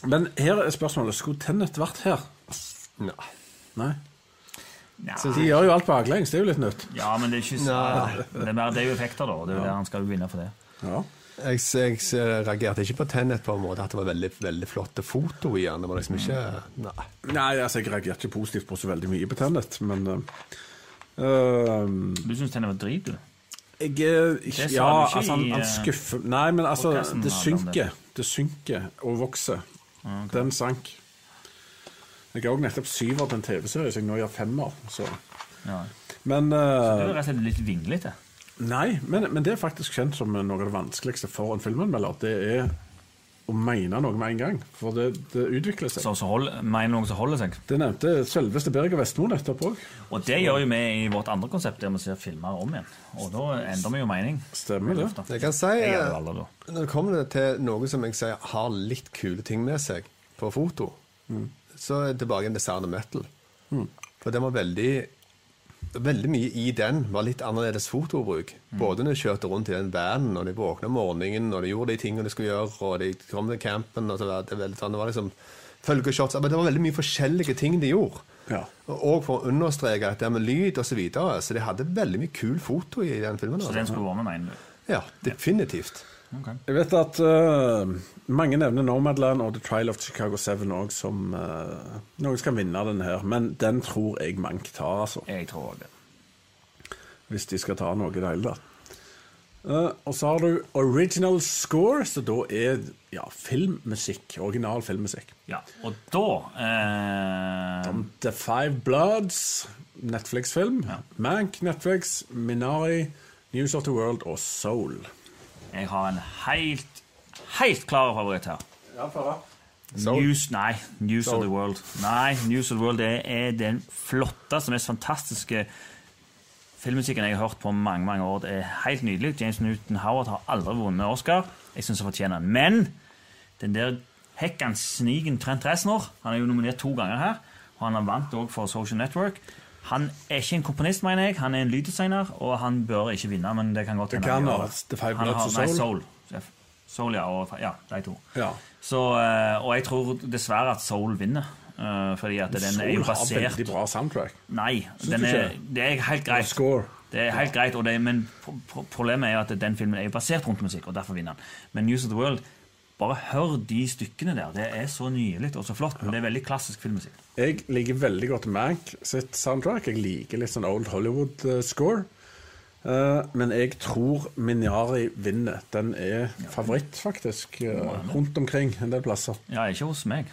S4: men her er spørsmålet. Skulle Tennet vært her?
S3: Nei.
S4: Nei. De
S5: Nei.
S4: gjør jo alt baklengs. Det er jo litt nytt.
S5: Ja, men det er ikke så, det, er mer, det er jo effekter, da. og Det er jo det han skal jo vinne for det.
S4: Ja.
S3: Jeg, jeg, jeg reagerte ikke på Tenet på en måte at det var veldig, veldig flotte foto i den. Det var liksom ikke Nei.
S4: Nei, altså, jeg reagerte ikke positivt på så veldig mye på Tenet, men eh, eh,
S5: Du syns den var drit, du?
S4: Jeg er ikke
S5: Det sa
S4: Ja,
S5: du ikke
S4: altså, han,
S5: i,
S4: han
S5: eh,
S4: skuffer Nei, men altså,
S5: podcasten
S4: det
S5: hadde om det.
S4: synker. Det synker og vokser.
S5: Ah,
S4: Den sank. Jeg har òg nettopp syver på en TV-serie, så jeg nå gjør femmer. Så.
S5: Ja.
S4: Men
S5: Det er
S4: eh,
S5: jo rett og slett litt vinglete.
S4: Nei, men, men det er faktisk kjent som noe av det vanskeligste for en filmanmelder. Det er å mene noe med en gang, for det, det utvikler seg.
S5: Så, så hold, mener noen som holder seg.
S4: Det nevnte selveste Berger Vestmo nettopp òg.
S5: Og det gjør jo vi i vårt andre konsept, der vi ser filmer om igjen. Og da endrer vi jo mening.
S4: Stemmer det.
S5: Ofte.
S3: Jeg kan si
S5: Jeg gjør det
S3: eh,
S5: aldri da.
S3: Når det kommer til noe som jeg sier har litt kule ting med seg på foto,
S5: Mm.
S3: så er det tilbake igjen til Sarne Metal. Mm. For den var veldig Veldig mye i den var litt annerledes fotobruk.
S5: Mm.
S3: Både når de kjørte rundt i den vanen, og de våkna om morgenen, og de gjorde de tingene de skulle gjøre, og de kom til campen og så var det, veldig, sånn, det var liksom følgeshots Men det var veldig mye forskjellige ting de gjorde.
S4: Ja.
S3: Og- Og for å understreke at det med lyd og så videre, så de hadde veldig mye kul foto i den filmen.
S5: Så
S3: Altså.
S5: den skulle være med, mener du?
S3: Ja, definitivt.
S5: Ok.
S4: Jeg vet at eh, mange nevner Nomadland og The Trial of Chicago 7 òg som eh, noen skal vinne den her, men den tror jeg Mank tar, altså.
S5: Jeg tror også det.
S4: Hvis de skal ta noe i det hele tatt. Eh, og så har du original score, så da er ja, filmmusikk. Original filmmusikk.
S5: Ja, og da eh,
S4: The Five Bloods, Netflix-film. Mank, Netflix, Minari, News of the World og Soul.
S5: Jeg har en helt, helt klar favoritt her.
S3: Soul.
S5: News, nei, News
S3: Soul.
S5: of the World. Nei, News of the World er, er den flotteste, mest fantastiske filmmusikken jeg har hørt på mange mange år. Det er helt nydelig. James Newton Howard har aldri vunnet Oscar. Jeg syns han fortjener den. Men den der hekkan sniken Trent Reznor, han er jo nominert to ganger her, og han har vant òg for Social Network. Han er ikke en komponist, mener jeg. Han er en lyddesigner, og han bør ikke vinne, men det kan godt hende.
S4: kan
S5: han gjør
S4: være The Five
S5: Han
S4: Bloods
S5: har-
S4: og
S5: Nei,
S4: Soul.
S5: Soul. Soul, ja. Og, ja, de to.
S4: Ja.
S5: Så, eh, og jeg tror dessverre at Soul vinner. eh, fordi at den er jo
S4: Soul har
S5: basert
S4: veldig bra soundtrack.
S5: Nei, den
S4: du
S5: er,
S4: ikke?
S5: det er helt
S4: Og
S5: greit.
S4: score.
S5: Det er helt greit, og det, men pro- pro- problemet er jo at den filmen er jo basert rundt musikk, og derfor vinner den. Men News of the World, bare hør de stykkene der. Det er så nydelig og så flott. Men det er veldig klassisk filmmusikk.
S4: Jeg liker veldig godt Mank sitt soundtrack. Jeg liker litt sånn Old Hollywood-score. Eh, men jeg tror Minari vinner. Den er favoritt, faktisk, eh, rundt omkring en del plasser.
S5: Ja, ikke hos meg.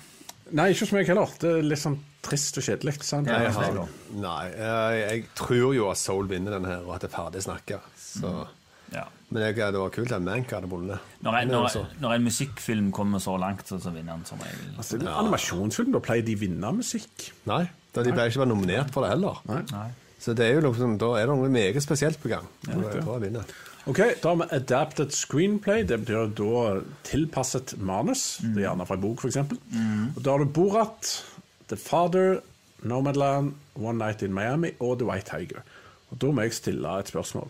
S4: Nei, ikke hos meg heller. Det er litt sånn trist og kjedelig. sant?
S3: Jeg har, nei, eh, jeg tror jo at Soul vinner den her, og at det er ferdig snakka. Så.
S5: Ja.
S3: Men jeg, det var kult at Mank hadde vunnet.
S5: Når, en,
S3: Men
S5: når,
S3: altså,
S5: når en musikkfilm kommer så langt, så, så vinner den som regel.
S4: Altså, det er en Animasjonsfilm, da pleier de å vinne musikk.
S3: Nei, da de ble ikke bare nominert for det heller.
S5: Nei.
S3: Så det er jo liksom, da er det noe meget spesielt på gang. Da er det bare å vinne.
S4: Ok, Da har vi adapted screenplay. Det betyr da tilpasset manus. Det er gjerne fra en bok, f.eks.
S5: Mm.
S4: Og Da har du Borat, The Father, Nomadland, One Night in Miami og The White Tiger. Og Da må jeg stille et spørsmål.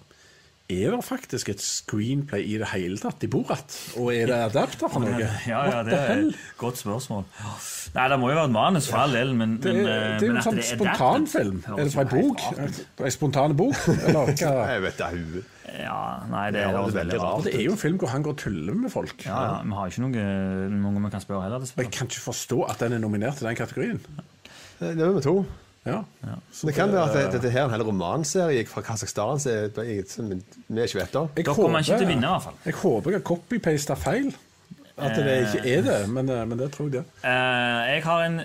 S4: Er det faktisk et screenplay i det hele tatt i Borat? Og er det adapter for noe?
S5: Ja, ja,
S4: What
S5: det
S4: the
S5: er
S4: hell?
S5: et godt spørsmål. Nei, det må jo være et manus for all del, men
S4: Det
S5: men,
S4: er,
S5: eh,
S4: det er jo
S5: men
S4: en
S5: at
S4: sånn
S5: det adapted
S4: spontanfilm. Er
S5: høres
S4: det
S5: jo
S4: fra en
S5: helt
S4: bok?
S5: rart ut.
S4: En spontan bok? Eller hva?
S3: Jeg vet det er huet.
S5: Ja, nei, det,
S3: Ja,
S5: høres veldig rart ut.
S4: Det er jo en film hvor han går og tuller med folk.
S5: Ja, ja, Vi har ikke noe, noen vi kan spørre heller,
S4: Og
S5: dessverre.
S4: Jeg kan ikke forstå at den er nominert til den kategorien.
S3: Eh, Det er nummer to.
S4: Ja.
S3: Så det kan være at det- dette her er en hel romanserie fra Kasakhstan som er- som vi ikke vet om.
S4: Jeg
S5: Da kommer han ikke til å vinne, i hvert fall.
S4: Jeg håper jeg har copypasta feil. At det ikke er det, men, eh, men det tror jeg det. er.
S5: Eh, jeg har en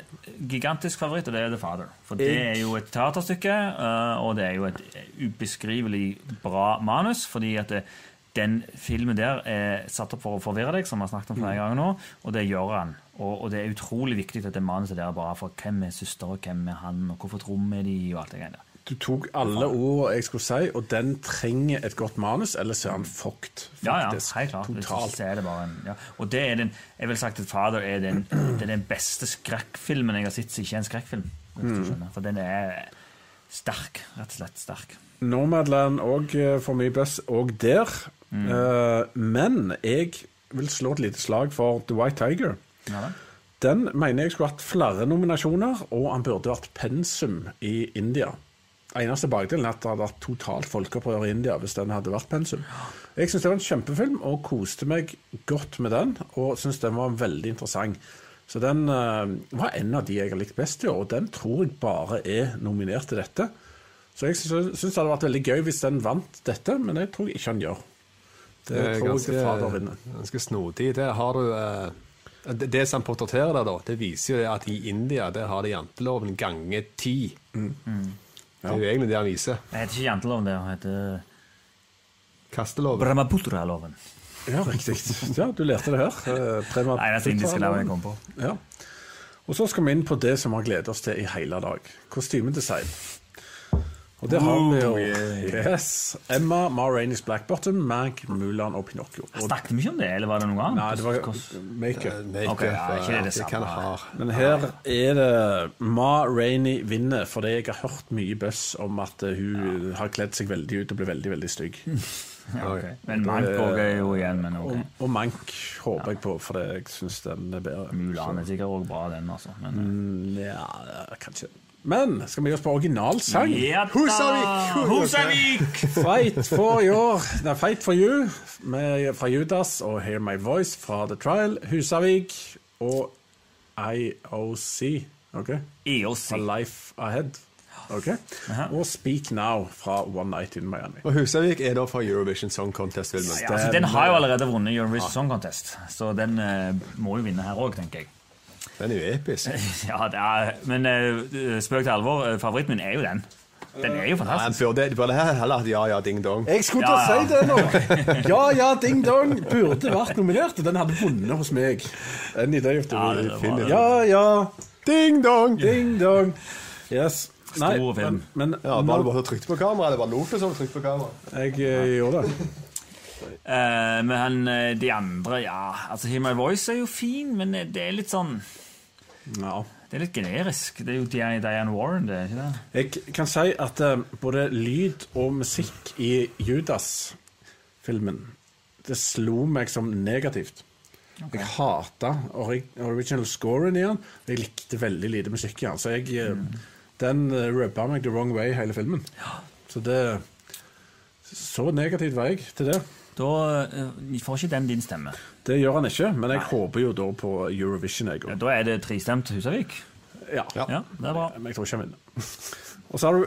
S5: gigantisk favoritt, og det er The Father. For det er jo et teaterstykke, eh, og det er jo et ubeskrivelig bra manus. fordi at det, den filmen der er satt opp for å forvirre deg, som vi har snakket om flere ganger nå, og det gjør han. Og, og det er utrolig viktig at det manuset der er bra, for hvem er søster, og hvem er han, og hvorfor trommer de, og alt det greiene der.
S4: Du tok alle ordene jeg skulle si, og den trenger et godt manus, ellers er han fucked.
S5: Ja, ja,
S4: faktisk.
S5: helt klart. Hvis ikke
S4: Totalt.
S5: så er det bare en, ja. Og det er den, jeg vil sagt at Father er den, det er den beste skrekkfilmen jeg har sett som ikke er en skrekkfilm. hvis
S4: Mm.
S5: du skjønner. For den er sterk, rett og slett sterk.
S4: Nomadland òg eh, for mye buzz òg der.
S5: Mm.
S4: Eh, men jeg vil slå et lite slag for The White Tiger.
S5: Ja, da.
S4: Den mener jeg skulle hatt flere nominasjoner, og han burde vært pensum i India. Eneste bakdelen er at det hadde vært totalt folkeopprør i India hvis den hadde vært pensum. Jeg syns det var en kjempefilm, og koste meg godt med den. Og syns den var veldig interessant. Så den eh, var en av de jeg har likt best i år, og den tror jeg bare er nominert til dette. Så jeg syns syns det hadde vært veldig gøy hvis den vant dette, men det tror jeg ikke han gjør. Det, tror jeg det fader vinner.
S3: ganske snodig. Det har du eh, det, det som portretterer der, da, det viser jo det at i India der har de janteloven ganger ti.
S5: Mm,
S3: Det er jo egentlig det han viser.
S5: Det heter ikke janteloven, det heter
S3: Kasteloven.
S5: Brahmaputra-loven.
S4: Ja, riktig. Ja, du lærte det her. Eh, prema-
S5: Nei, det er det indiske navnet jeg kom på.
S4: Ja. Og så skal vi inn på det som har gledet oss til i hele dag. Kostymedesign. Og der har vi
S5: Oh,
S4: jo yes. Emma, Ma Rainey's Black Bottom, Mank, Mulan og Pinocchio. Og,
S5: Snakket vi ikke om det, eller var det noe annet?
S4: nei, det var
S5: Hvordan-
S4: makeup.
S3: Make-up,
S5: Ok, ja, ikke det
S3: eh,
S5: det samme.
S3: kan ha.
S4: Men her er det Ma Rainey vinner, fordi jeg har hørt mye buzz om at eh, hun har kledd seg veldig ut og blir veldig, veldig stygg.
S5: Mm. Ja, ok. Men Mank er jo igjen, men ok.
S4: Eh, Og, og Mank håper jeg på, fordi jeg syns den er bedre.
S5: Mulan er sikkert også bra, den, altså.
S4: Mm.
S5: Men,
S4: Ja, kanskje. Men skal vi gi oss på originalsang?
S5: ja da!
S3: Husavik!
S5: Husavik!
S4: Fight for your Nei, Fight for you med, fra Judas og Hear My Voice fra The Trial, Husavik og IOC. OK?
S5: EOC.
S4: A Life Ahead. Ok? Og Speak Now fra One Night in Miami.
S3: Og Husavik er da fra Eurovision Song Contest-filmen.
S5: Ja, altså, den har jo allerede vunnet Eurovision Song Contest, så den eh, må jo vinne her òg, tenker jeg.
S3: Den er jo episk.
S5: Ja, det er, Men eh, spøk til alvor, eh, favoritten min er jo den. Den er
S3: Ja,
S5: jo fantastisk.
S3: han burde, de burde he- heller hatt Ja ja, ding dong.
S4: Jeg skulle til
S5: Ja,
S4: å si det nå! Ja ja, Ding Dong burde vært nominert, og den hadde vunnet hos meg. Any day of the
S5: Ja, det
S4: week.
S5: var det.
S4: Ja ja,
S3: Ding dong!
S4: Ding Dong. Yes. Nei,
S5: Stor film.
S4: men, men
S3: Ja, Var det bare trykt på kamera? Det var Loke som trykte på kamera.
S4: jeg eh, gjorde det.
S5: Eh, men han, eh, de andre, ja Altså, Hear My Voice er jo fin, men eh, det er litt sånn
S4: Ja.
S5: Det er litt generisk. Det er jo Di- Diane Warren, det er ikke det?
S4: Jeg kan si at eh, både lyd og musikk i Judas-filmen Det slo meg som negativt. Jeg hata ori original scoren i den. og Jeg likte veldig lite musikk i den. Så jeg, eh, den uh, rubba meg the wrong way hele filmen. Så det Så negativt var jeg til det.
S5: Da eh, får ikke den din stemme.
S4: Det gjør han ikke, men jeg håper jo da på Eurovision, jeg
S5: Ja,
S4: òg.
S5: Da er det tristemt Husavik.
S4: Ja.
S3: Ja.
S5: Ja, det er bra.
S4: Men jeg tror ikke han vinner. Og så har du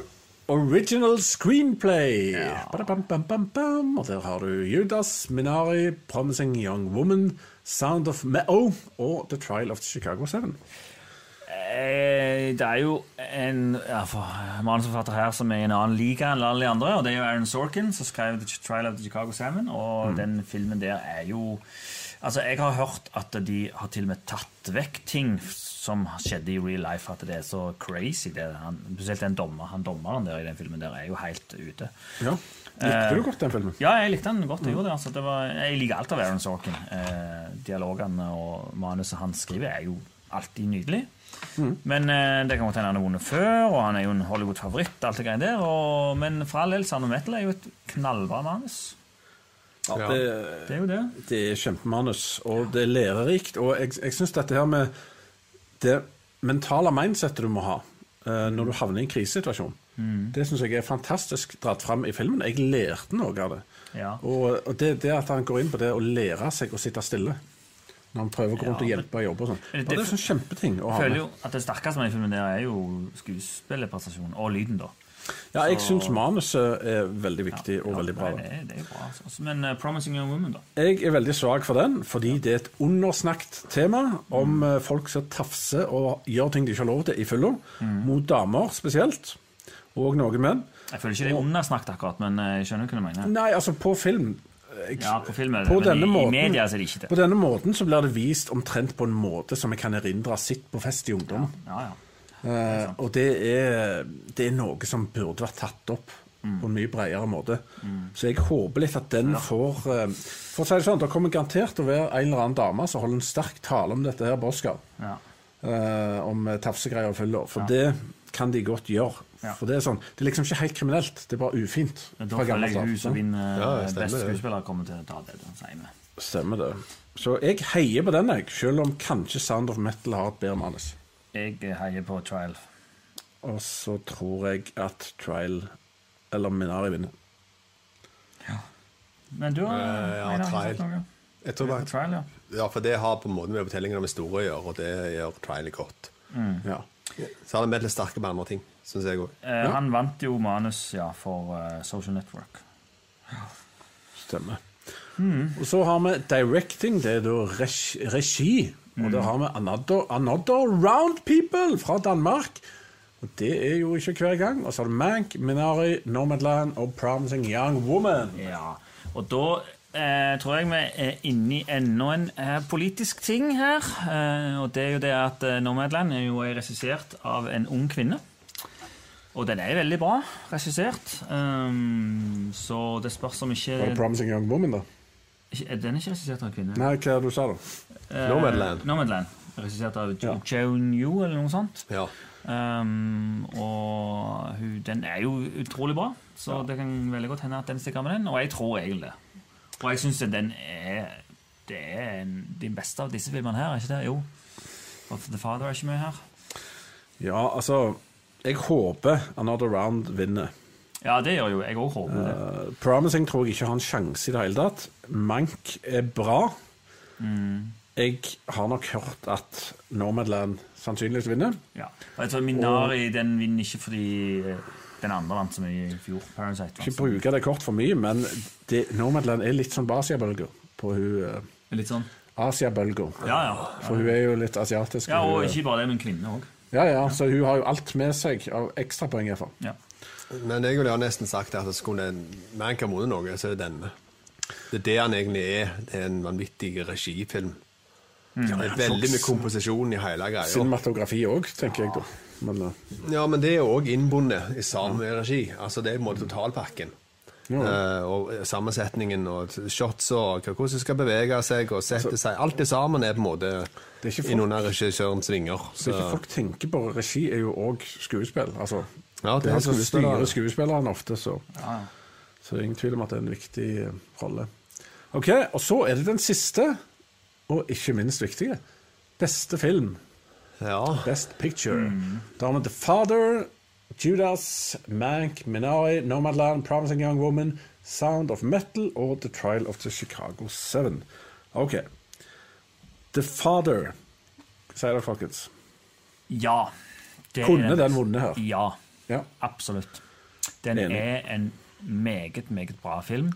S4: Original Screenplay. Badabam, bam, bam, bam. Og der har du Judas, Minari, Promising Young Woman, Sound of Meow og The Trial of Chicago 7.
S5: Eh, Det er jo en ja, for, eh, manusforfatter her som er i en annen liga enn alle de andre. og Det er jo Aaron Sorkin som skrev The Trial of the Chicago Salmon. Og den filmen der er jo Altså, Jeg har hørt at de har til og med tatt vekk ting som skjedde i real life. At det er så crazy. det han, Spesielt den dommer, han dommeren der i den filmen der er jo helt ute.
S4: Ja.
S5: Eh,
S4: Likte du godt den filmen?
S5: Ja, jeg likte den godt. Jeg gjorde det. Altså, det var, jeg liker alt av Aaron Sorkin. Eh, dialogene og manuset han skriver, er jo alltid nydelig.
S4: Mm.
S5: Men eh, det kan godt hende han har vunnet før, og han er jo en Hollywood-favoritt. alt det greiene der. Og, men for all del, Sound of Metal er jo et knallbra manus.
S4: Ja, det,
S5: Det er jo det.
S4: Det er kjempemanus, og det er lærerikt. Og jeg, jeg syns dette her med det mentale mindsettet du må ha eh, når du havner i en krisesituasjon,
S5: Mm.
S4: det syns jeg er fantastisk dratt fram i filmen. Jeg lærte noe av det.
S5: Ja.
S4: Og, og det, det at han går inn på det å lære seg å sitte stille når han prøver å gå rundt og
S5: Ja,
S4: hjelpe og jobbe og sånn.
S5: Men det-
S4: Bare Det er sånn kjempeting å
S5: Jeg
S4: ha med.
S5: føler jo at det sterkeste med den filmen der er jo skuespillerprestasjonen og lyden, da.
S4: Ja, jeg
S5: så-
S4: syns manuset er veldig viktig og
S5: Ja,
S4: veldig bra.
S5: nei,
S4: da.
S5: Det, er- det er jo bra. Altså. Men eh, 'Promising Young Woman', da?
S4: Jeg er veldig svak for den, fordi det er et undersnakket tema
S5: Mm.
S4: om eh, folk som tafser og gjør ting de ikke har lov til i fylla,
S5: Mm.
S4: mot damer spesielt, og noen menn.
S5: Jeg føler ikke det er undersnakket akkurat, men eh, jeg skjønner hva du mener.
S4: Nei, altså på film jeg,
S5: Ja, på film er det
S4: på
S5: det, men
S4: denne
S5: i- i
S4: måten,
S5: media så er det ikke det.
S4: På denne måten så blir det vist omtrent på en måte som jeg kan erindre har sett på fest i ungdom.
S5: Ja, ja.
S4: Eh, og det er, det er noe som burde vært tatt opp
S5: Mm.
S4: på en mye bredere måte. Så jeg håper litt at den får eh, For å si det sånn, det kommer garantert til å være en eller annen dame som holder en sterk tale om dette her på Oscar.
S5: ja.
S4: Eh, om eh, tafsegreier og fyller. For det kan de godt gjøre.
S5: Ja.
S4: For det er sånn, det er liksom ikke helt kriminelt, det er bare ufint.
S5: Men Da
S4: fra
S5: føler
S4: gammelt
S5: jeg
S4: av.
S5: hun som vinner
S3: Ja,
S5: eh,
S3: stemmer
S5: best
S3: det.
S5: skuespiller, kommer til å ta det. den sier vi.
S4: Stemmer det. Så jeg heier på den, jeg. Selv om kanskje Sound of Metal har et bedre manus.
S5: Jeg heier på Trial.
S4: Og så tror jeg at Trial eller Minari vinner.
S5: Men du har
S3: Eh, ja,
S5: Einar, har du
S3: Trial.
S5: sagt noe?
S3: Jeg tror
S5: På
S3: bare-
S5: Trial, ja.
S3: Ja, for det har på en måte med fortellingen om historie å gjøre, og det gjør trialet godt.
S4: Ja.
S3: Så har det med litt sterke på andre ting, syns jeg òg.
S5: Eh, Han vant jo manus ja, for eh, Social Network.
S4: Stemmer. Og så har vi directing, det er da regi. regi. Og der har vi another, another Round People fra Danmark. Og det er jo ikke hver gang. Og så har du Mank, Minari, Nomadland og Promising Young Woman.
S5: Ja, Og da eh, tror jeg vi er inne i enda en eh, politisk ting her. Eh, og det er jo det at eh, Nomadland er jo regissert av en ung kvinne. Og den er veldig bra regissert, um, så det spørs om ikke
S4: Var det Promising Young Woman, da?
S5: ikke- Den er ikke regissert av en kvinne.
S4: Nei, hva er det du sa, da?
S5: Eh,
S3: Nomadland.
S5: Nomadland, Regissert av Jo
S4: Ja.
S5: Joan Yu, eller noe sånt.
S3: Ja.
S5: Ehm, og hun, den er jo utrolig bra, så det kan veldig godt hende at den stikker med den. Og jeg tror egentlig det. Og jeg syns den er Det er en, de beste av disse filmene her, er ikke det? Jo. Og The Father er ikke med her.
S4: Ja, altså Jeg håper Another Round vinner.
S5: Ja, det gjør jo jeg òg håper det.
S4: Eh, Promising tror jeg ikke har en sjanse i det hele tatt. Mank er bra. Jeg har nok hørt at Nomadland sannsynligvis vinner.
S5: Ja. Og jeg tror Minari den vinner ikke fordi eh, den andre vant så mye i fjor. Parasite vant.
S4: Ikke
S5: så mye.
S4: bruke det kort for mye, men det, Nomadland er litt sånn Basia-bølger på hun eh,
S5: Litt sånn.
S4: Asia-bølger.
S5: Ja, ja.
S4: For hun er jo litt asiatisk.
S5: ja.
S4: hun
S5: Og
S4: er-
S5: ikke bare det, men kvinner òg.
S4: ja, ja, så hun har jo alt med seg av ekstrapoeng, iallfall.
S5: Ja.
S3: Men jeg ville jo nesten sagt at skulle en man kan vunnet noe, så er det denne. Det er det han egentlig er. Det er en vanvittig regifilm.
S4: Mm.
S3: Det er veldig mye komposisjon i hele greia.
S4: Cinematografi òg, tenker jeg da. Men eh,
S3: Ja, men det er òg innbundet i samme regi. Altså Det er på en måte totalpakken.
S4: Ja.
S3: Eh, og sammensetningen og shots og hva- hvordan det skal bevege seg og sette seg. Alt det sammen er på en måte
S4: Altså- Det er ikke folk-
S3: innunder regissørens vinger.
S4: så ikke
S3: Så,
S4: folk tenker på regi, er jo òg skuespill. Altså,
S3: Ja, det er
S4: han som
S3: skuespiller.
S4: styrer skuespilleren ofte, så Så det er ingen tvil om at det er en viktig eh, rolle. Ok, Og så er det den siste, og ikke minst viktige. Beste film.
S3: ja.
S4: Best Picture. Da har vi The Father, Judas, Mank, Minari, Nomadland, Promising Young Woman, Sound of Metal og The Trial of the Chicago Seven. Ok. The Father. Hva sier dere, folkens?
S5: ja det er
S4: Kunne den vunnet her?
S5: Ja.
S4: Ja.
S5: Absolutt. Den
S4: Enig.
S5: er en meget, meget bra film.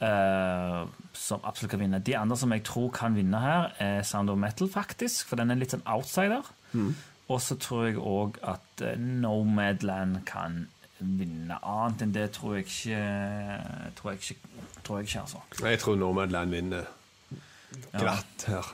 S5: eh, som absolutt kan vinne. De andre som jeg tror kan vinne her, er Sound of Metal, faktisk. For den er litt sånn outsider.
S4: Mm.
S5: Og så tror jeg òg at eh, Nomadland kan vinne. Annet enn det tror jeg ikke Tror jeg ikke, tror jeg ikke altså.
S3: Jeg tror Nomadland vinner glatt her.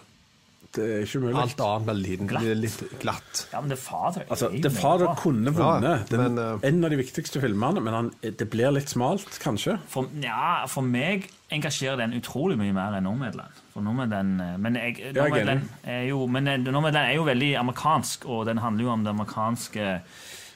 S4: Det er eh, ikke umulig.
S3: Alt annet blir liten-
S5: Glatt.
S3: blir litt glatt.
S5: Ja, men The Father er
S4: Altså,
S5: jo
S4: The
S5: meget
S4: Father
S5: bra.
S4: kunne vunnet.
S3: Ja,
S4: Den,
S3: men, eh,
S4: en av de viktigste filmene, men han, eh, det blir litt smalt, kanskje.
S5: For, ja, for meg engasjerer den utrolig mye mer enn Nomadland. For Nomadland eh, men, jeg,
S4: Ja, jeg er
S5: Nomadland er jo, men eh, Nomadland er jo veldig amerikansk, og den handler jo om den amerikanske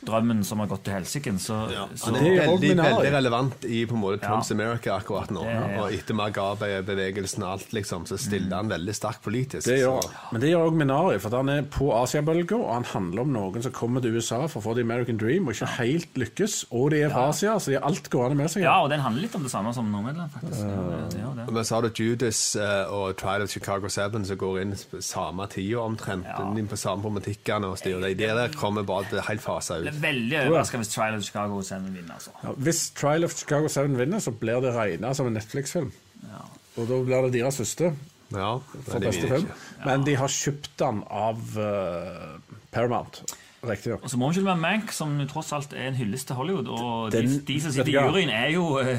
S5: drømmen som har gått til helsiken. Så, så
S3: Han er
S4: Det
S5: det,
S4: er jo
S3: veldig,
S4: original.
S3: veldig relevant i på en måte Trumps
S5: Ja.
S3: America akkurat nå.
S5: Det er, ja.
S3: Og etter Magabe-bevegelsen og alt, liksom, så stiller han veldig sterkt politisk.
S4: Det gjør
S3: så-
S4: han. Men det gjør òg Minari, for han er på Asiabølga, og han handler om noen som kommer til USA for å få The American Dream, og ikke helt lykkes, og de er fra Asia, så de har alt gående med seg.
S5: ja, og den handler litt om det samme som Nomadland, faktisk. Ja, det, gjør det.
S3: Men så har du Judas eh, og Trial of Chicago 7 som går inn sp- samme tida omtrent.
S5: Ja.
S3: Inn på samme problematikkene og styrer det. Der kommer bare det helt fasa
S5: det
S3: ut.
S5: er veldig overraska hvis Trial of Chicago Seven vinner, altså.
S4: Ja, Hvis Trial of Chicago 7 vinner, så blir det regna som en Netflix-film.
S5: Ja.
S4: Og da blir det deres første
S3: Ja,
S4: for
S3: men det
S4: beste
S3: vinner
S4: film.
S3: ikke.
S4: Men de har kjøpt den av eh, Paramount. Riktignok.
S5: Og så må vi ikke glemme Mank, som jo tross alt er en hyllest til Hollywood. Og de,
S4: Den-
S5: de som sitter i
S4: Ja.
S5: juryen, er jo eh,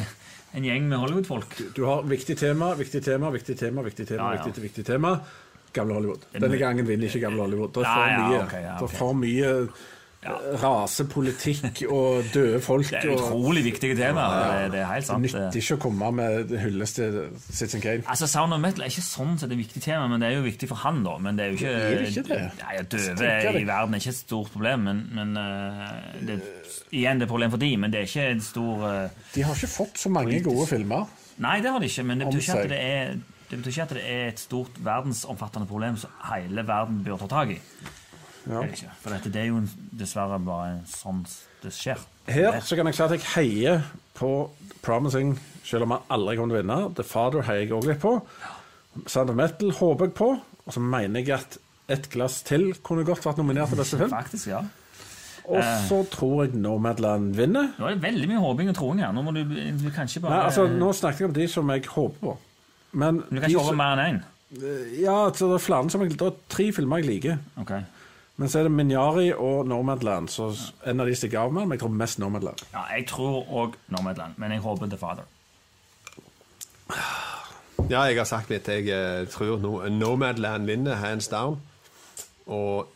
S5: en gjeng med Hollywood-folk.
S4: Du har viktig tema, viktig tema, viktig tema, viktig tema.
S5: Ja, ja.
S4: Viktig, viktig tema. Gamle Hollywood.
S5: Den-
S4: Denne gangen vinner ikke Gamle Hollywood. Det er
S5: Nei,
S4: for
S5: ja,
S4: mye,
S5: ok, ja,
S4: det
S5: ok.
S4: er for mye eh, rasepolitikk og døde folk.
S5: Det er
S4: og
S5: utrolig viktige temaer. Det, det er helt
S4: det
S5: sant.
S4: nytter ikke å komme med hyllest til Citizen Kane.
S5: Altså, Sound of metal er ikke sånn sett et viktig tema, men det er jo viktig for han, da. Men det er jo ikke,
S4: Det er ikke det.
S5: Nei, at Døve
S4: tenker jeg
S5: i
S4: det.
S5: verden er ikke et stort problem, men, men eh, det, Igjen, det er et problem for de, men det er ikke en stor eh,
S4: De har ikke fått så mange gode filmer.
S5: Nei, det har de ikke, men det
S4: Om
S5: betyr ikke
S4: seg.
S5: at det er det betyr ikke at det er et stort verdensomfattende problem som hele verden bør ta tak i. Det er det ikke, For dette, det er jo dessverre bare sånn det skjer.
S4: Her så kan jeg si at jeg heier på Promising, selv om han aldri kommer til å vinne. The Father heier jeg også litt på. Sound of Metal håper jeg på. Og så mener jeg at Et glass til kunne godt vært nominert til beste film.
S5: Faktisk, ja.
S4: Og så tror jeg Nomadland vinner.
S5: Nå er det veldig mye håping og troing her. Nå må du, du kan ikke bare
S4: Nei, altså, nå snakket jeg om de som jeg håper på. Men
S5: Du kan
S4: de
S5: ikke
S4: som-
S5: håpe mer enn én.
S4: Ja, altså, det er flere som jeg, det er tre filmer jeg liker.
S5: Ok.
S4: Men så er det Minari og Nomadland, så en av de stikker av med, men jeg tror mest Nomadland.
S5: Ja, jeg tror òg Nomadland, men jeg håper The Father.
S3: Ja, jeg har sagt litt. Jeg eh, tror no Nomadland vinner hands down. Og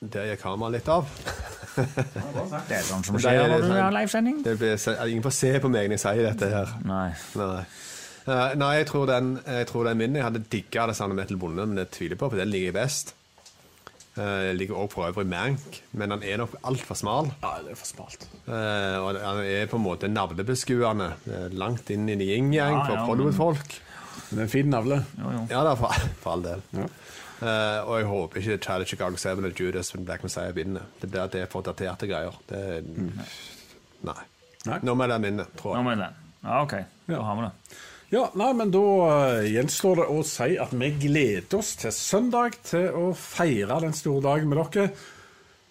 S3: der gikk kameraet litt av.
S5: Det er sånn som
S3: Det
S5: skjer
S3: er
S5: når
S3: litt
S5: du
S3: sånn-
S5: har livesending.
S3: Det blir, se- ingen får se på meg når jeg sier dette her.
S5: Nei.
S3: Nei. Eh, nei, jeg tror den, jeg tror den vinner. Jeg hadde digga det samme Metal Bonde, men det tviler jeg på, for den liker jeg best. Eh, Jeg liker også for øvrig Mank, men han er nok altfor smal.
S4: Ja, det er for smalt.
S3: Eh, og han er på en måte navlebeskuende. eh, Langt inn i en yin-yang
S5: Ja,
S3: for
S5: ja,
S3: Hollywood-folk.
S4: Men det er en fin navle.
S5: Jo, jo.
S3: Ja da, for, for all del. Eh, og jeg håper ikke Charlie Chicago 7 og Judas and Black Messiah vinner. Det blir at det er for daterte greier. Det er, Nei.
S4: Nei.
S3: Nå må den vinne, tror jeg.
S5: Ah, Nomadland. Ja, OK. Da har vi det.
S4: Ja, nei, men da eh, gjenstår det å si at vi gleder oss til søndag til å feire den store dagen med dere.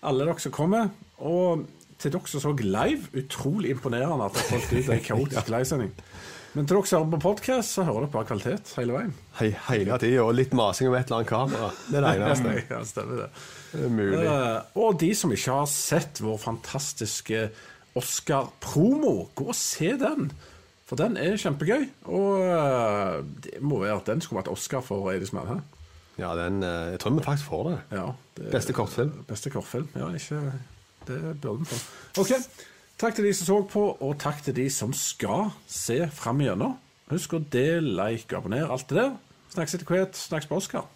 S4: Alle dere som kommer. Og til dere som så live, utrolig imponerende at dere holdt ut ei kaotisk livesending. Men til dere som hører på podkast, så hører dere bare kvalitet hele veien.
S3: He hele tida. Og litt masing om et eller annet kamera. Det er det eneste.
S4: Ja, stemmer det.
S3: Det er mulig.
S4: Eh, og de som ikke har sett vår fantastiske Oscar-promo, gå og se den. For den er kjempegøy. Og eh, det må være at den skulle vært Oscar for Eidesmann. Hæ?
S3: Ja, den eh, Jeg tror vi faktisk får det.
S4: Ja, det
S3: Beste kortfilm.
S4: Beste kortfilm. Ja, ikke Det bør den få. OK. Takk til de som så på, og takk til de som skal se fram igjennom. Husk å dele, like, abonner, alt det der. Snakkes etter hvert. Snakkes på Oscar.